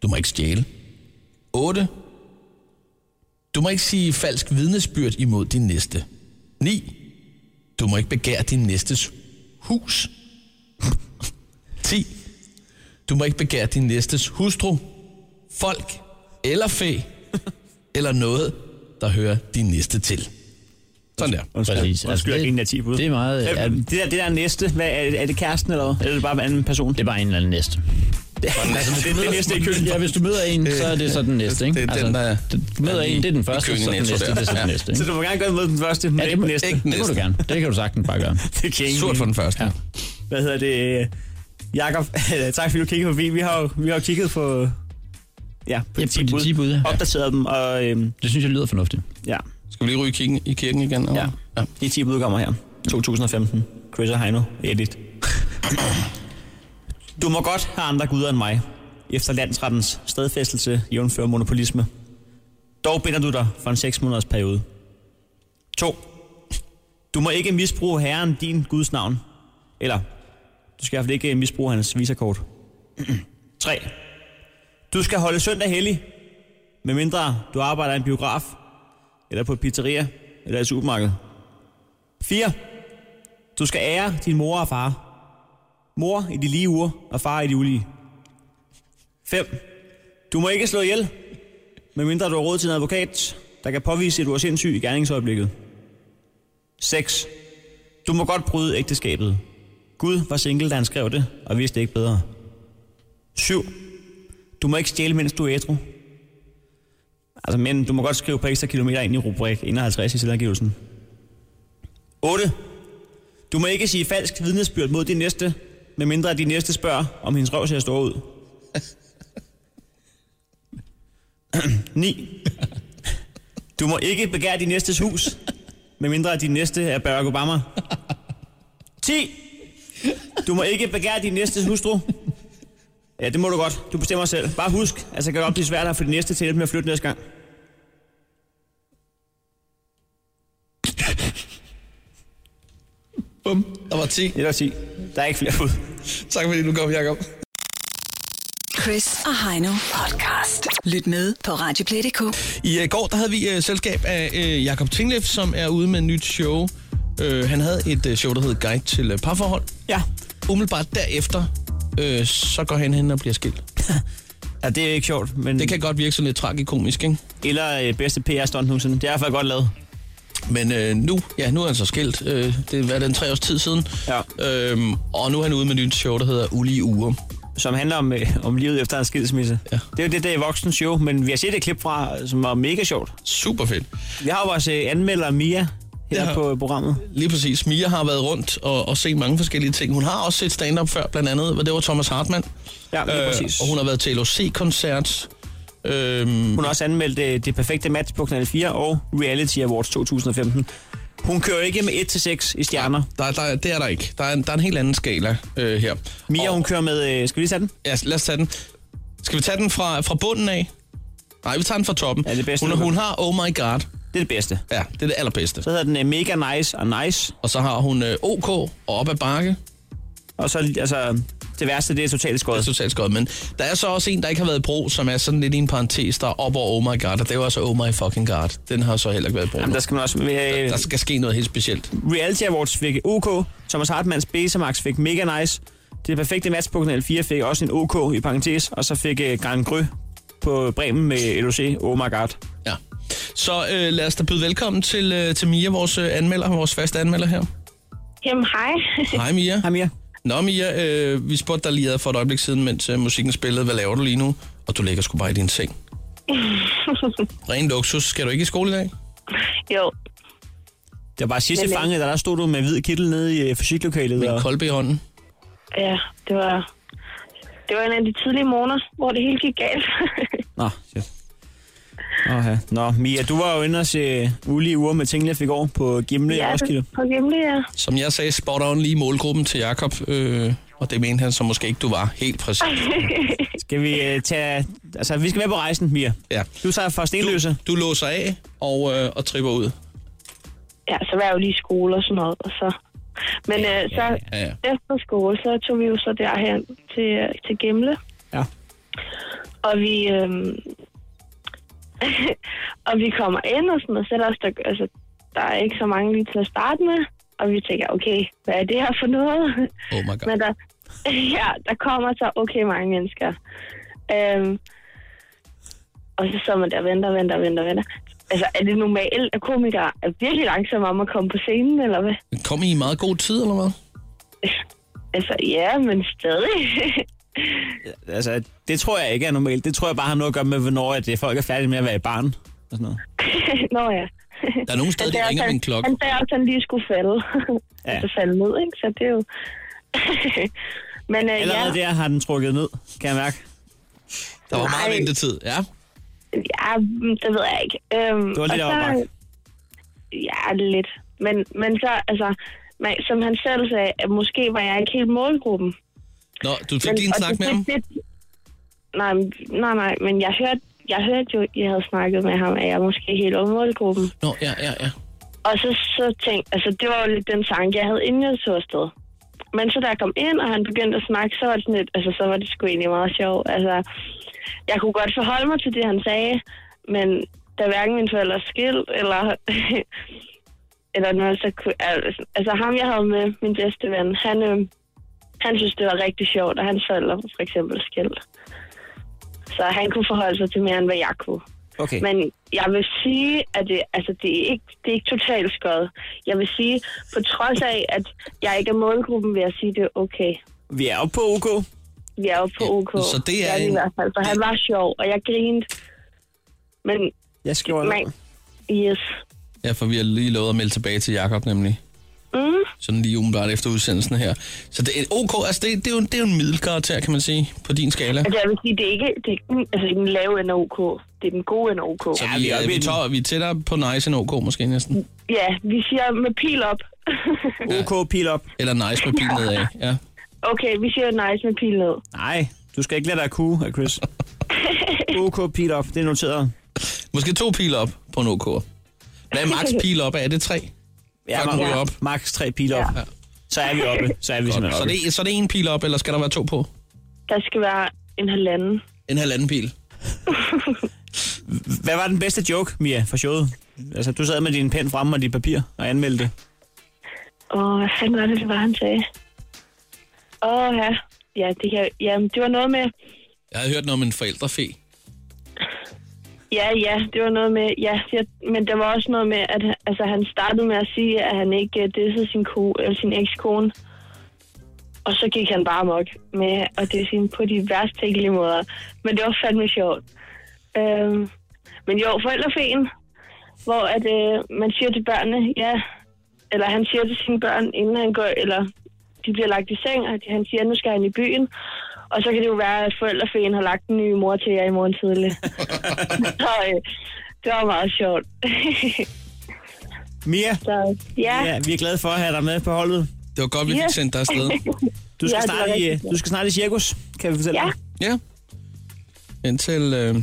S3: Du må ikke stjæle. 8. Du må ikke sige falsk vidnesbyrd imod din næste. 9. Du må ikke begære din næstes hus. [laughs] 10. Du må ikke begære din næstes hustru, folk eller fæ, eller noget, der hører din næste til. Sådan der.
S8: Præcis. Altså,
S4: Undskyld, jeg griner af 10 bud.
S8: det er meget...
S4: Øh,
S8: Er,
S4: altså, Det der, det der næste, hvad, er, er det kæresten eller hvad? Eller er det bare en anden person?
S8: det er bare en eller anden næste.
S4: Altså, det, det, det næste i køen.
S8: Ja, hvis du møder en, så er det så den næste, ikke?
S3: Det er den, der-
S8: du møder
S3: er
S8: en, det er den
S3: i
S8: første,
S3: køen i
S8: så den
S3: Netto
S8: næste,
S3: der.
S8: det er så
S3: Ja.
S8: den næste.
S4: Så
S8: Ikke?
S4: du må gerne gå med den første, men
S8: Ja,
S4: ikke
S8: det, må,
S4: den næste.
S3: ikke den
S8: det må du gerne. Det kan du sagtens bare gøre.
S4: Det kan jeg
S3: Surt
S4: ikke.
S3: for den første.
S8: Ja.
S4: Hvad hedder det? Jakob, [laughs] tak fordi du kiggede forbi. Vi har jo, vi har jo kigget på... Ja,
S8: Ja, på
S4: på de
S8: de
S4: 10
S8: ti bud,
S4: bud.
S8: ja.
S4: Opdateret dem, og øhm,
S8: Det synes jeg lyder fornuftigt.
S4: ja,
S3: Skal vi lige ryge i kirken, i kirken igen? eller?
S4: Ja.
S3: ja.
S4: de 10 bud kommer her. 2015. Chris og Heino. Edit. Du må godt have andre guder end mig, efter landsrettens stedfæstelse jævnfører monopolisme. Dog binder du dig for en 6 måneders periode. 2. Du må ikke misbruge herren din guds navn. Eller, du skal i hvert fald ikke misbruge hans visakort. 3. Du skal holde søndag hellig, medmindre du arbejder i en biograf, eller på et pizzeria, eller i et supermarked. 4. Du skal ære din mor og far. Mor i de lige uger, og far i de ulige. 5. Du må ikke slå ihjel, medmindre du har råd til en advokat, der kan påvise, at du er sindssyg i gerningsøjeblikket. 6. Du må godt bryde ægteskabet. Gud var single, da han skrev det, og vidste ikke bedre. 7. Du må ikke stjæle, mens du er ædru. Altså, men du må godt skrive på ekstra kilometer ind i rubrik 51 i selvangivelsen. 8. Du må ikke sige falsk vidnesbyrd mod din næste, medmindre at din næste spørger, om hendes røv ser stor ud. 9. Du må ikke begære din næstes hus, medmindre at din næste er Barack Obama. 10. Du må ikke begære din næstes hustru. Ja, det må du godt. Du bestemmer selv. Bare husk, altså kan det godt blive svært at få din næste til at hjælpe med at flytte næste gang.
S3: Bum. Der var 10.
S4: Det er der 10. Der er ikke flere bud.
S3: Tak fordi du kom, Jacob.
S2: Chris og Heino podcast. Lyt med på Radioplay.dk.
S3: I uh, går der havde vi uh, selskab af uh, Jakob Tinglev, som er ude med et nyt show. Uh, han havde et uh, show, der hed Guide til uh, parforhold.
S4: Ja.
S3: Umiddelbart derefter, uh, så går han hen og bliver skilt.
S4: Ja, det er ikke sjovt, men...
S3: Det kan godt virke sådan lidt tragikomisk, ikke?
S4: Eller øh, bedste PR-stunt nogensinde. Det er i hvert fald godt lavet.
S3: Men øh, nu, ja, nu er han så skilt. Øh, det er den tre års tid siden.
S4: Ja.
S3: Øhm, og nu er han ude med et nyt show, der hedder Ulige Uger.
S4: Som handler om, øh, om livet efter en skilsmisse.
S3: Ja.
S4: Det er jo det der voksen show, men vi har set et klip fra, øh, som var mega sjovt.
S3: Super fedt.
S4: Vi har jo vores øh, anmelder Mia her
S3: Ja.
S4: ja. på øh, programmet.
S3: Lige præcis. Mia har været rundt og, og set mange forskellige ting. Hun har også set stand-up før, blandt andet, og det var Thomas Hartmann.
S4: Ja, lige præcis.
S3: Øh, Og hun har været til LOC-koncert. Øhm,
S4: Hun har også anmeldt øh, det perfekte match på Kanal 4 og Reality Awards 2015. Hun kører ikke med 1-6 i stjerner.
S3: der, der, det er der ikke. Der er en, der er en helt anden skala øh, her.
S4: Mia,
S3: og,
S4: hun kører med... Øh, skal vi lige tage den?
S3: Ja, lad os tage den. Skal vi tage den fra, fra bunden af? Nej, vi tager den fra toppen.
S4: Ja, det er bedst,
S3: hun,
S4: du kan.
S3: hun har Oh My God.
S4: Det er det bedste.
S3: Ja, det er det allerbedste.
S4: Så hedder den øh, Mega Nice og Nice.
S3: Og så har hun øh, OK og op ad bakke.
S4: Og så altså,
S3: Det værste, det er totalt skåret. Det er totalt skåret, men der er så også en, der ikke har været i brug, som er sådan lidt i en parentes, der er op over Oh My God, og det var altså Oh My Fucking God. Den har så heller ikke været i brug.
S4: Jamen, der skal man også... øh,
S3: Der, der skal ske noget helt specielt.
S4: Reality Awards fik OK. Thomas Hartmanns Besemax fik Mega Nice. Det perfekte match på Kanal 4 fik også en OK i parentes. Og så fik uh, Grand Gry på Bremen med LOC. Oh my god.
S3: Ja. Så øh, lad os da byde velkommen til, øh, til Mia, vores øh, anmelder, vores faste anmelder her.
S13: Jamen, hej. [laughs]
S3: Hej Mia. Hej
S4: Mia.
S3: Nå Mia, øh, vi spurgte dig lige ad for et øjeblik siden, mens øh, musikken spillede, hvad laver du lige nu? Og du ligger sgu bare i din seng. Ren luksus. Skal du ikke i skole i dag?
S13: jo,
S4: Det var sidste
S13: Men, øh,
S4: fange, der, der stod du med hvid kittel nede i øh, fysiklokalet. Med og...
S3: kolbe i hånden.
S13: ja, det var... Det var en af de tidlige måneder, hvor det hele gik galt.
S4: Nå, shit. Okay. Nå, Mia, du var jo inde og se ulige uger med Tinglef i går på Gimle i Roskilde.
S13: på Gimle, ja.
S3: Som jeg sagde, spot on lige målgruppen til Jakob, øh, og det mente han så måske ikke, du var helt præcis.
S4: Skal vi øh, tage... Altså, vi skal med på rejsen, Mia.
S3: Ja.
S4: Du tager for stenløse.
S3: Du låser af og, øh, og tripper ud.
S13: ja, så var jeg jo lige i skole og sådan noget, og så... Men øh, så
S3: Ja, ja.
S13: efter skole, så tog vi jo så derhen til, øh, til Gimle.
S4: Ja.
S13: Og vi... Øh, [laughs] og vi kommer ind og sådan, og sætter os der, altså, der er ikke så mange lige til at starte med. Og vi tænker, okay, hvad er det her for noget?
S3: Oh my
S13: Men der, [laughs] ja, der kommer så okay mange mennesker. Øhm, og så sidder man der og venter, venter, venter, venter. Altså, er det normalt, at komikere er virkelig langsomme om at komme på scenen, eller hvad?
S3: Kom I i meget god tid, eller hvad?
S13: Altså, ja, men stadig. [laughs]
S4: Altså, det tror jeg ikke er normalt. Det tror jeg bare har noget at gøre med, hvornår at øh, folk er færdige med at være i barn. Og sådan noget.
S13: Nå ja.
S3: Der er nogen steder, de ringer med en klokke.
S13: Han sagde også, at han lige skulle falde.
S4: Ja.
S13: Ja. altså falde ned, ikke? [laughs] Så det er jo... [laughs] men øh, ja,
S4: Allerede der har den trukket ned, kan jeg mærke.
S3: Der var meget ventetid, ja.
S13: ja, mm, det ved jeg ikke. Øhm,
S4: Det var lidt
S13: og så-
S4: afbagt.
S13: Ja, lidt. Men, men så, altså, man, som han selv sagde, at måske var jeg ikke helt målgruppen.
S3: Nå, du fik
S13: Men-
S3: lige en
S13: og
S3: snak
S13: det
S3: med
S13: fik
S3: ham.
S13: lidt- Nej, men- nej, nej, men jeg hørte, jeg hørte jo, I havde snakket med ham, at jeg måske er helt om målgruppen.
S3: Nå, ja, ja, ja.
S13: Og så, så tænkte altså det var jo lidt den tanke, jeg havde inden jeg tog afsted. Men så da jeg kom ind, og han begyndte at snakke, så var det sådan lidt, altså så var det sgu egentlig meget sjovt. Altså, jeg kunne godt forholde mig til det, han sagde, men da hverken mine forældre er skilt, eller, [laughs] eller noget, så kunne, al- altså ham jeg havde med, min bedste ven, han, øh, han synes, det var rigtig sjovt, og hans forældre var for eksempel skilt. Så han kunne forholde sig til mere, end hvad jeg kunne.
S4: Okay.
S13: Men jeg vil sige, at det, altså, det, er ikke, det er ikke totalt skøjet. Jeg vil sige, på trods af, at jeg ikke er målgruppen, vil jeg sige, det er okay.
S4: Vi er oppe på OK.
S13: Vi er jo på OK.
S4: så det er
S13: jeg i
S4: en-
S13: hvert fald, for han var sjov, og jeg grinede. Men
S4: Jeg skriver
S13: man, yes.
S3: Ja, for vi har lige lovet at melde tilbage til Jakob nemlig.
S13: Mm.
S3: Sådan lige umiddelbart efter udsendelsen her. Så det er OK, altså det, det, er jo, det er jo en middelkarakter, kan man sige, på din skala.
S13: Altså, jeg vil sige, det er ikke, det er ikke, den- altså, ikke den lave end OK. Det er den gode end OK.
S3: Så vi, er, vi, tår, vi er tættere på nice end OK måske næsten.
S13: Ja, vi siger med pil op. [laughs]
S4: OK, pil op.
S3: Eller nice med pil nedad, ja.
S13: Okay, vi siger nice med pil ned.
S4: Nej, du skal ikke lade dig kue af
S13: [laughs]
S4: Chris. OK, pil op. Det er noteret.
S3: Måske to pil op på en OK. Hvad er [laughs] max pil op af? Er det tre? Fuck, den ryger op.
S4: Max tre pil op.
S3: Ja.
S4: Så er vi oppe. Så er vi simpelthen
S3: Så
S4: oppe.
S3: det, er- så det er en pil op, eller skal der være to på?
S13: Der skal være en halvanden.
S3: En halvanden pil.
S4: Hvad var den bedste joke, Mia, fra showet? Altså, du sad med din pen fremme og dit papir og anmeldte det.
S13: Åh, hvad fanden var det, det var, han sagde? Åh, ja. Ja, det, kan, ja, det var noget med...
S3: Jeg havde hørt noget om en forældrefe.
S13: Ja, ja, det var noget med... Ja, jeg, men der var også noget med, at altså, han startede med at sige, at han ikke uh, dissede sin, ko, eller sin ekskone. Og så gik han bare amok med at disse hende på de værst tænkelige måder. Men det var fandme sjovt. Øhm, men jo, forældrefen, hvor at, øh, man siger til børnene, ja, eller han siger til sine børn, inden han går, eller de bliver lagt i seng, og han siger, at nu skal han i byen. Og så kan det jo være, at forældrefeen har lagt en ny mor til jer i morgen tidlig. så øh, det var meget [laughs] sjovt.
S4: Mia,
S13: så, ja.
S4: ja, vi er glade for at have dig med på holdet.
S3: Det var godt,
S13: vi fik Ja. sendt dig
S3: [laughs]
S13: afsted.
S4: Du skal,
S13: Ja, det var
S4: ja, snart, i, øh,
S13: rigtigt.
S4: du skal snart i cirkus, kan vi fortælle
S13: Ja.
S4: dig.
S3: Ja. Indtil... Øh,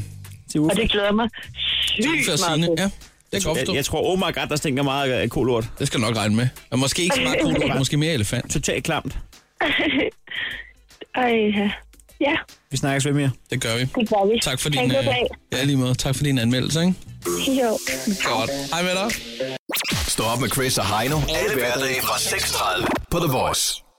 S4: til
S13: Og det glæder mig sygt meget til.
S3: ja. Det
S4: jeg, jeg, jeg tror, oh my god, der stinker meget af kolort.
S3: Det skal du nok regne med. Og måske ikke så meget kolort, måske mere elefant.
S4: Totalt klamt.
S13: Ej, ja. Ja,
S3: Vi snakkes ved mere. Det gør vi.
S13: det gør vi.
S3: Tak for
S13: Ha' en
S3: din,
S13: god
S3: øh,
S13: dag.
S3: ja, lige måde. Tak for din anmeldelse, ikke?
S13: Jo.
S3: Godt. Hej med dig.
S5: Stå op med Chris og Heino. Alle hverdage fra 6.30 på The Voice.